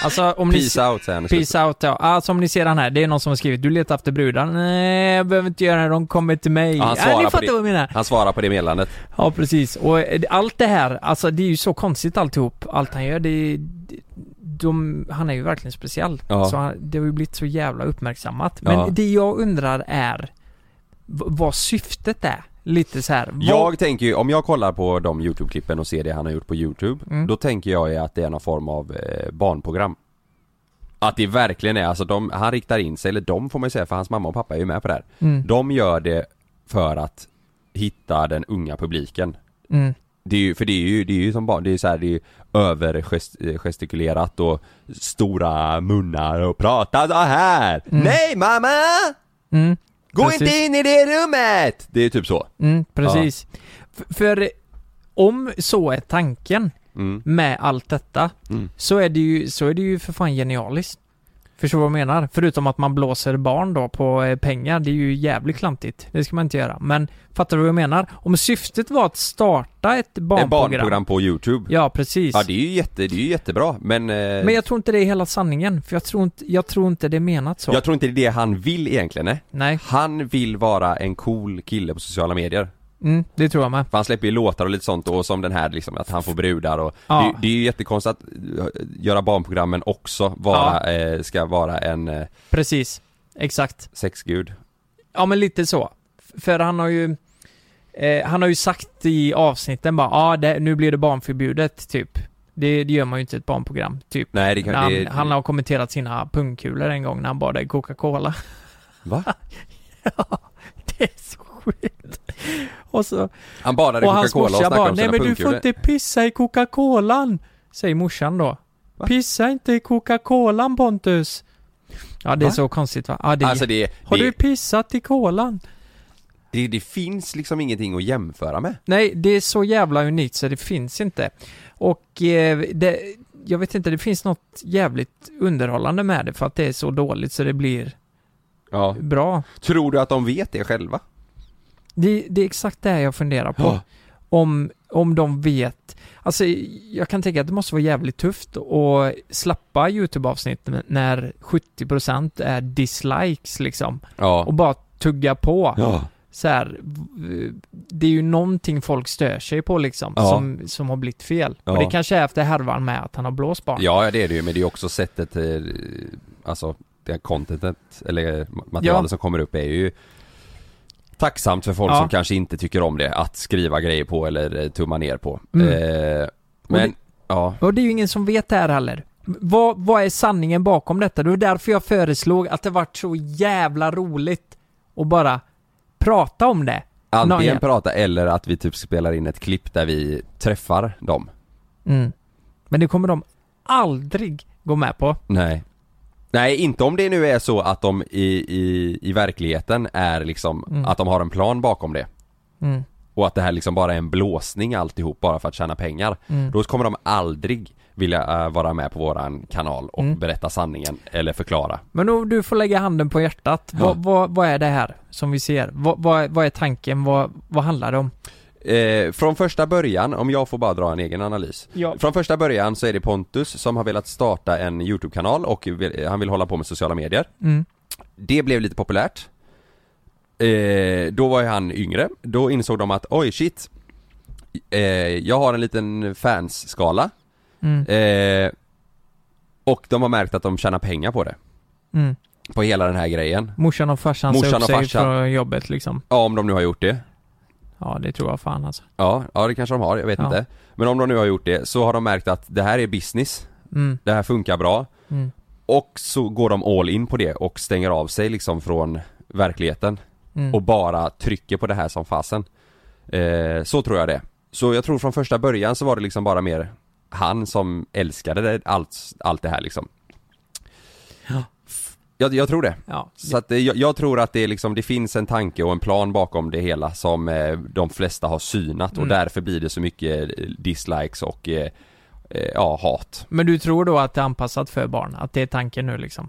S2: Alltså om ni...
S3: Peace out säger han i slutet.
S2: Peace out ja. Alltså om ni ser den här, det är någon som har skrivit du letar efter brudar. Nej jag behöver inte göra det, de kommer till mig.
S3: Ja, han,
S2: Ja, ni
S3: svarar
S2: fattar vad
S3: på
S2: jag menar.
S3: det, han svarar på det meddelandet.
S2: Ja, precis. Och eh, allt det här, alltså det är ju så konstigt alltihop. Allt han gör, det, det de, han är ju verkligen speciell.
S3: Ja.
S2: Så han, det har ju blivit så jävla uppmärksammat. Men
S3: Ja.
S2: det jag undrar är v- vad syftet är. Lite så här. Vad,
S3: Jag tänker ju, om jag kollar på de YouTube-klippen och ser det han har gjort på YouTube,
S2: Mm.
S3: då tänker jag ju att det är någon form av eh, barnprogram. Att det verkligen är, alltså de, han riktar in sig, eller de får man ju säga för hans mamma och pappa är ju med på det här.
S2: Mm.
S3: De gör det för att hitta den unga publiken.
S2: Mm.
S3: Det är ju, för det är ju, det är ju som barn, det är ju så här, det är ju övergestikulerat och stora munnar och prata så här.
S2: Mm.
S3: Nej mamma!
S2: Mm,
S3: Gå
S2: precis.
S3: inte in i det rummet! Det är ju typ så.
S2: Mm, precis. F- för om så är tanken
S3: Mm.
S2: med allt detta, så, är det ju, så är det ju för fan genialiskt. Förstår vad jag menar? Förutom att man blåser barn då på eh, pengar, det är ju jävligt klantigt. Det ska man inte göra. Men fattar du vad jag menar? Om syftet var att starta ett barnprogram.
S3: Ett barnprogram på Youtube.
S2: Ja, precis.
S3: Ja det är ju, jätte, det är ju jättebra men, eh,
S2: Men jag tror inte det är hela sanningen, för jag tror inte, jag tror inte det är menat så.
S3: jag tror inte det är det han vill egentligen nej.
S2: Nej.
S3: Han vill vara en cool kille på sociala medier.
S2: Mm, det tror jag med.
S3: För han släpper ju låtar och lite sånt och som den här liksom att han får brudar och
S2: Ja.
S3: det, det är ju jättekonstigt att eh, göra barnprogrammen också vara, eh, ska vara en eh,
S2: Precis. Exakt.
S3: sexgud.
S2: Ja men lite så. F- För han har ju eh, Han har ju sagt i avsnitten bara ah, det, nu blir det barnförbjudet typ. Det, det gör man ju inte i ett barnprogram, typ.
S3: Nej, det kan-
S2: När han,
S3: det-
S2: han har kommenterat sina pungkulor en gång när han badade i Coca-Cola. [LAUGHS]
S3: Va?
S2: ja, det är så sjukt. Och så...
S3: Han badade
S2: [LAUGHS]
S3: i
S2: och hans
S3: Coca-Cola och
S2: morsa
S3: snackade
S2: bara,
S3: om
S2: nej
S3: sina
S2: men du får
S3: pungkulor."
S2: inte pissa i Coca-Colan. Säger morsan då. Pissa inte i Coca-Colan Pontus. Ja det är
S3: Va?
S2: så konstigt va? Ja, det är...
S3: Alltså det,
S2: har
S3: det,
S2: du pissat i kolan?
S3: det, det finns liksom ingenting att jämföra med.
S2: Nej, det är så jävla unikt så det finns inte. Och eh, det, jag vet inte, det finns något jävligt underhållande med det för att det är så dåligt så det blir
S3: Ja.
S2: bra.
S3: Tror du att de vet det själva?
S2: Det, det är exakt det här jag funderar på.
S3: Ja.
S2: Om, om de vet. Alltså, jag kan tänka att det måste vara jävligt tufft att slappa YouTube-avsnitt när 70% är dislikes liksom.
S3: Ja.
S2: Och bara tugga på.
S3: Ja.
S2: Så här, v- det är ju någonting folk stör sig på liksom,
S3: Ja.
S2: som, som har blivit fel.
S3: Ja.
S2: Och det kanske är efter härvan med att han har blåst barn.
S3: Ja, ja, det är det ju, men det är ju också sättet, eh, alltså det här contentet, eller eh, materialet
S2: Ja.
S3: som kommer upp är ju tacksamt för folk
S2: Ja.
S3: som kanske inte tycker om det, att skriva grejer på eller eh, tumma ner på.
S2: Mm.
S3: Eh, men,
S2: det-
S3: ja.
S2: Och det är ju ingen som vet det här heller. Vad, vad är sanningen bakom detta? Det var därför jag föreslog att det varit så jävla roligt att bara prata om det. Någon
S3: Antingen
S2: jävla-
S3: prata eller att vi typ spelar in ett klipp där vi träffar dem.
S2: Mm. Men det kommer de aldrig gå med på.
S3: Nej. Nej, inte om det nu är så att de i, i, i verkligheten är liksom,
S2: Mm.
S3: att de har en plan bakom det.
S2: Mm.
S3: Och och att det här liksom bara är en blåsning alltihop bara för att tjäna pengar.
S7: Mm.
S3: Då kommer de aldrig vilja eh, vara med på våran kanal och
S2: Mm.
S3: berätta sanningen eller förklara.
S2: Men om du får lägga handen på hjärtat. Vad, vad, vad är det här som vi ser? Vad, vad, vad är tanken? Vad, vad handlar det om?
S3: Eh, från första början, om jag får bara dra en egen analys.
S2: Ja.
S3: Från första början så är det Pontus som har velat starta en YouTube-kanal och vill, eh, han vill hålla på med sociala medier.
S2: Mm.
S3: Det blev lite populärt. Eh, då var ju han yngre. Då insåg de att oj shit, eh, jag har en liten fansskala.
S2: Mm.
S3: Eh, och de har märkt att de tjänar pengar på det.
S2: Mm.
S3: På hela den här grejen.
S2: Morsan och farsan säger
S3: Morsan
S2: upp
S3: och
S2: sig
S3: farsan.
S2: från jobbet liksom.
S3: Ja, om de nu har gjort det.
S2: Ja, det tror jag fan alltså.
S3: Ja, ja det kanske de har, jag vet
S2: Ja.
S3: inte. Men om de nu har gjort det så har de märkt att det här är business.
S2: Mm.
S3: Det här funkar bra.
S2: Mm.
S3: Och så går de all in på det och stänger av sig liksom från verkligheten.
S2: Mm.
S3: Och bara trycker på det här som fasen. Eh, så tror jag det. Så jag tror från första början så var det liksom bara mer han som älskade det, allt, allt det här liksom. Jag, jag tror det. Så att, eh, jag, jag tror att det, är liksom, det finns en tanke och en plan bakom det hela som eh, de flesta har synat och
S2: Mm.
S3: därför blir det så mycket eh, dislikes och eh, eh, ja, hat.
S2: Men du tror då att det är anpassat för barn? Att det är tanken nu liksom?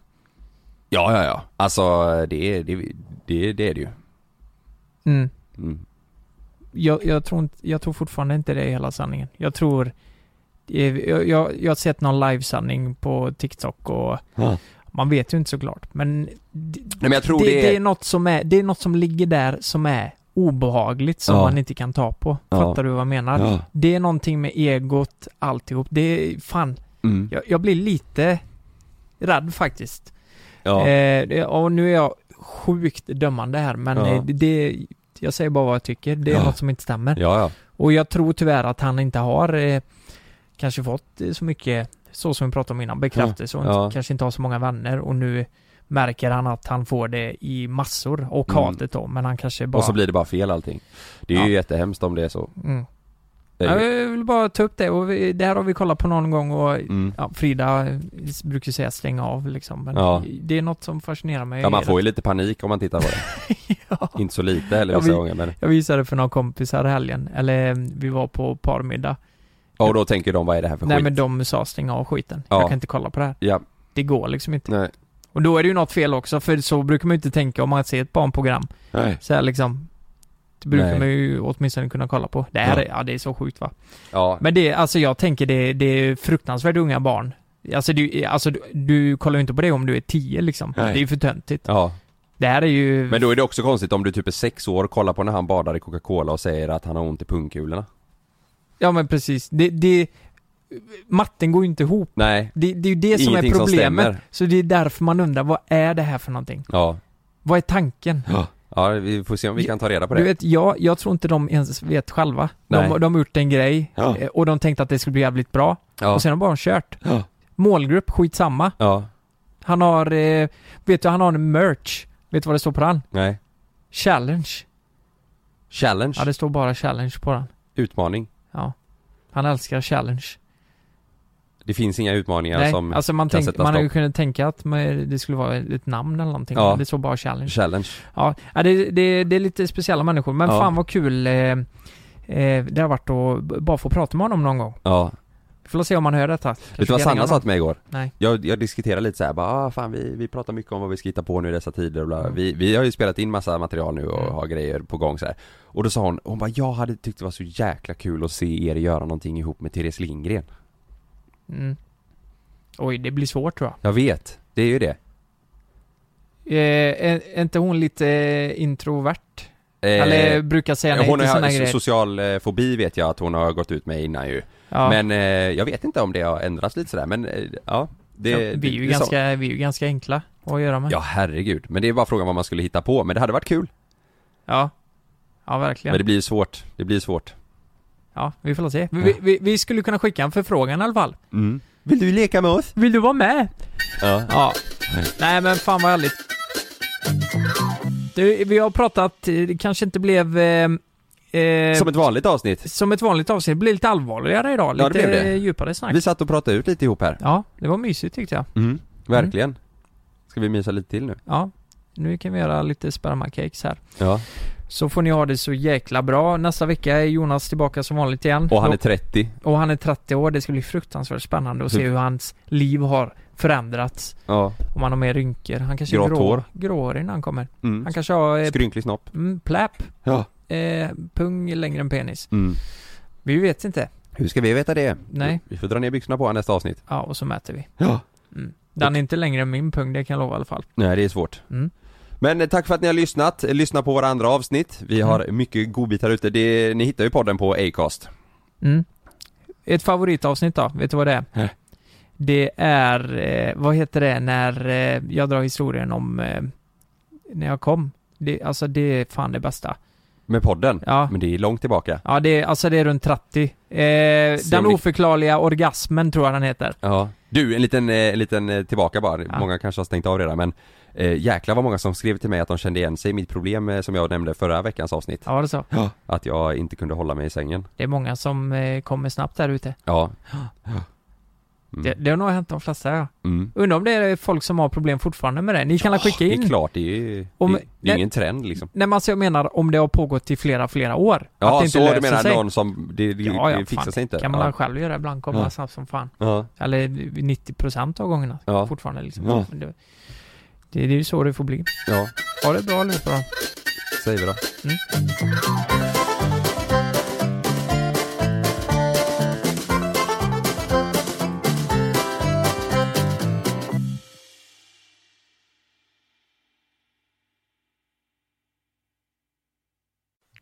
S3: Ja, ja, ja. Alltså det, är- det, det, det är det ju.
S2: Mm.
S3: Mm.
S2: Jag, jag, tror inte, jag tror fortfarande inte det är hela sanningen. Jag tror... eh, Jag, jag, jag har sett någon livesanning på TikTok och...
S3: Ja.
S2: Man vet ju inte såklart, men... d-
S3: Nej, men jag tror det är-
S2: är något som är... Det är något som ligger där som är obehagligt, som
S3: Ja.
S2: man inte kan ta på.
S3: Ja.
S2: Fattar du vad jag menar?
S3: Ja.
S2: Det är någonting med egot, alltihop. Det är... Fan.
S3: Mm.
S2: Jag, jag blir lite rädd faktiskt.
S3: Ja.
S2: Eh, det- och nu är jag sjukt dömande här, men
S3: Ja.
S2: eh, det, det... Jag säger bara vad jag tycker. Det är
S3: Ja.
S2: något som inte stämmer.
S3: Ja, ja.
S2: Och jag tror tyvärr att han inte har eh, kanske fått eh, så mycket, så som vi pratade om innan, bekräftelse och inte,
S3: Ja.
S2: kanske inte har så många vänner och nu märker han att han får det i massor och
S3: Mm.
S2: hatet då, men han kanske bara...
S3: Och så blir det bara fel allting. Det är ju jättehemskt om det är så. Eh,
S2: Mm.
S3: Det är
S2: Ja,
S3: ju-
S2: Jag vill bara ta upp det och vi, det här har vi kollat på någon gång och
S3: Mm.
S2: ja, Frida eh, brukar säga släng av liksom, men
S3: Ja.
S2: det är något som fascinerar mig.
S3: Ja, man får ju lite panik om man tittar på det. Inte så lite
S2: [LAUGHS]
S3: eller
S2: Ja,
S3: vissa
S2: vi-
S3: gånger men.
S2: Jag visade för några kompisar i helgen, eller eh, vi var på parmiddag.
S3: Ja, och då tänker de vad är det här för
S2: Nej
S3: skit?
S2: men de sa släng av skiten.
S3: Ja.
S2: Jag kan inte kolla på det här.
S3: Ja.
S2: Det går liksom inte.
S3: Nej.
S2: Och då är det ju något fel också, för så brukar man ju inte tänka om man ser ett barnprogram.
S3: Nej.
S2: Så här liksom. Det brukar
S3: Nej.
S2: man ju åtminstone kunna kolla på. Det här
S3: Ja.
S2: är, ja det är så sjukt va.
S3: Ja.
S2: Men det, alltså jag tänker det, det är fruktansvärt unga barn. Alltså du, alltså du, du kollar ju inte på det om du är 10 liksom.
S3: Nej.
S2: Det är ju för töntigt.
S3: Ja.
S2: Det här är ju...
S3: Men då är det också konstigt om du typ är sex år, kollar på när han badar i Coca-Cola och säger att han har ont i pungkulorna.
S2: Ja men precis. Det, det... Matten går ju inte ihop.
S3: Nej.
S2: Det, det är ju det som
S3: Ingenting
S2: är
S3: som
S2: problemet.
S3: stämmer.
S2: så det är därför man undrar, vad är det här för någonting?
S3: Ja.
S2: Vad är tanken?
S3: Ja, vi får se om vi kan ta reda på det.
S2: Du vet, jag, jag tror inte de ens vet själva. De,
S3: Nej.
S2: de har gjort en grej
S3: Ja.
S2: eh, och de tänkte att det skulle bli jävligt bra.
S3: Ja.
S2: Och sen har bara de kört. Målgrupp, skitsamma.
S3: Ja.
S2: Han har, eh, vet du, han har en merch. Vet du vad det står på den?
S3: Nej.
S2: Challenge.
S3: Challenge.
S2: Ja, det står bara challenge på den.
S3: Utmaning.
S2: Ja. Han älskar challenge.
S3: Det finns inga utmaningar
S2: Nej,
S3: som
S2: alltså man,
S3: kan
S2: tänk,
S3: sätta
S2: man hade ju
S3: stopp.
S2: kunnat tänka att man, det skulle vara ett namn eller någonting.
S3: Ja.
S2: men Det står bara challenge.
S3: Challenge.
S2: Ja, ja, det, det, det är lite speciella människor. Men
S3: Ja.
S2: fan vad kul eh, eh, det har varit att b- bara få prata med honom någon gång.
S3: Ja.
S2: Vi får se om han hör detta. Kanske
S3: Vet du vad
S2: vi kan ringa
S3: Sanna sa
S2: honom.
S3: till mig igår?
S2: Nej.
S3: Jag, jag diskuterade lite så här, bara, ah, fan vi, vi pratar mycket om vad vi ska hitta på nu i dessa tider och bla.
S2: Mm.
S3: Vi, vi har ju spelat in massa material nu och har grejer på gång så här. Och då sa hon, hon bara, jag hade tyckt det var så jäkla kul att se er göra någonting ihop med Therese Lindgren.
S2: Mm. Oj, det blir svårt tror jag.
S3: Jag vet, det är ju det.
S2: Eh, är, är inte hon lite eh, introvert?
S3: Eh,
S2: Eller brukar säga nej
S3: hon
S2: till
S3: har-
S2: såna
S3: so-
S2: grejer.
S3: social eh, fobi vet jag att hon har gått ut med innan ju.
S2: Ja.
S3: Men eh, jag vet inte om det har ändrats lite sådär men eh, ja. Det,
S2: Ja,
S3: det-
S2: vi, är ju
S3: det är så.
S2: ganska, vi är ju ganska enkla att göra med.
S3: Ja herregud, men det är bara frågan vad man skulle hitta på, men det hade varit kul.
S2: Ja, ja verkligen.
S3: Men det blir ju svårt, det blir svårt.
S2: Ja, vi får se. Vi, vi, vi skulle kunna skicka en förfrågan i alla fall.
S3: Mm. Vill du leka med oss?
S2: Vill du vara med?
S3: Ja.
S2: Ja. Nej men fan vad härligt. Du, vi har pratat, eh, det kanske inte blev... Eh, eh,
S3: Som ett vanligt avsnitt.
S2: som ett vanligt avsnitt, det blev lite allvarligare idag. Lite
S3: Ja, det blev det.
S2: eh, djupare snack.
S3: Vi satt och pratade ut lite ihop här.
S2: Ja, det var mysigt tyckte jag.
S3: Mm, verkligen. Ska vi mysa lite till nu?
S2: Ja, nu kan vi göra lite spermakex här.
S3: Ja.
S2: Så får ni ha det så jäkla bra. Nästa vecka är Jonas tillbaka som vanligt igen.
S3: Och han är 30.
S2: Och han är 30 år. Det ska bli fruktansvärt spännande att se hur hans liv har förändrats.
S3: Ja.
S2: Om han har mer rynkor. Han kanske
S3: Grått
S2: är grå,
S3: hår.
S2: gråhårig när han kommer.
S3: Mm.
S2: Han kanske har...
S3: Skrynklig snopp.
S2: Mm, pläp.
S3: Ja.
S2: Eh, pung längre än penis.
S3: Mm.
S2: Vi vet inte.
S3: Hur ska vi veta det?
S2: Nej.
S3: Vi får dra ner byxorna på här nästa avsnitt.
S2: Ja, och så mäter vi.
S3: Ja.
S2: Mm. Den är inte längre än min pung, det kan jag lova i alla fall.
S3: Nej, det är svårt.
S2: Mm.
S3: Men eh, tack för att ni har lyssnat. Lyssna på våra andra avsnitt.
S2: Mm.
S3: Vi har mycket godbitar ute. Det, ni hittar ju podden på Acast.
S2: Mm. Ett favoritavsnitt då, vet du vad det är?
S3: Nej.
S2: Det är, eh, vad heter det när eh, jag drar historien om eh, när jag kom? Det, alltså det är fan det bästa.
S3: Med podden?
S2: Ja.
S3: Men det är långt tillbaka.
S2: Ja, det är, alltså det är runt 30. Eh,
S3: Se
S2: den
S3: om ni-
S2: oförklarliga orgasmen tror jag den heter.
S3: Ja. Du, en liten, eh, en liten eh, tillbaka bara. Många kanske har stängt av redan men eh, jäklar vad många som skrev till mig att de kände igen sig i mitt problem eh, som jag nämnde förra veckans avsnitt.
S2: Ja, det är så.
S3: Att jag inte kunde hålla mig i sängen.
S2: Det är många som eh, kommer snabbt där ute.
S3: Ja.
S2: Det, det har nog hänt de flesta, ja.
S3: Mm.
S2: Undrar om det är folk som har problem fortfarande med det. Ni kan väl skicka
S3: Det
S2: in?
S3: är klart, det är ju
S2: Om-
S3: det, det är
S2: nej-
S3: ingen trend liksom.
S2: Nej men alltså jag menar om det har pågått i flera, flera år.
S3: Ja,
S2: det
S3: så du
S2: löser
S3: menar
S2: sig.
S3: någon som, det, det,
S2: Ja, ja,
S3: det fixar
S2: fan.
S3: sig inte?
S2: Kan man
S3: ja.
S2: väl själv göra ibland, komma
S3: Ja.
S2: snabbt som fan.
S3: Ja.
S2: Eller 90% av gångerna
S3: Ja.
S2: fortfarande liksom.
S3: Ja.
S2: Men Det, det är ju så det får bli.
S3: Ja,
S2: Ha det bra allihopa då.
S3: säger vi då.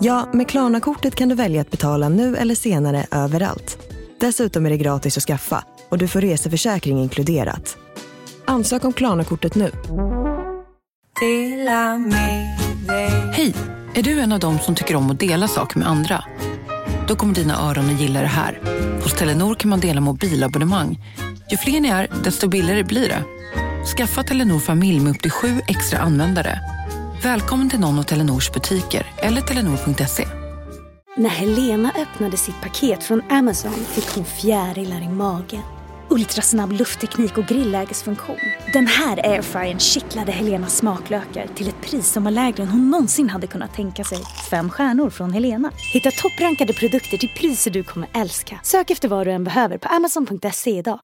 S1: Ja, med Klarna-kortet kan du välja att betala nu eller senare överallt. Dessutom är det gratis att skaffa och du får reseförsäkring inkluderat. Ansök om Klarna-kortet nu.
S8: Hej! Är du en av dem som tycker om att dela saker med andra? Då kommer dina öron att gilla det här. Hos Telenor kan man dela mobilabonnemang. Ju fler ni är, desto billigare blir det. Skaffa Telenor familj med upp till sju extra användare. Välkommen till någon av Telenors butiker eller telenor.se.
S9: När Helena öppnade sitt paket från Amazon fick hon fjärilar i magen. Ultrasnabb luftteknik och grillägesfunktion. Den här airfryern kittlade Helenas smaklökar till ett pris som var lägre än hon någonsin hade kunnat tänka sig. Fem stjärnor från Helena. Hitta topprankade produkter till priser du kommer älska. Sök efter vad du än behöver på amazon.se idag.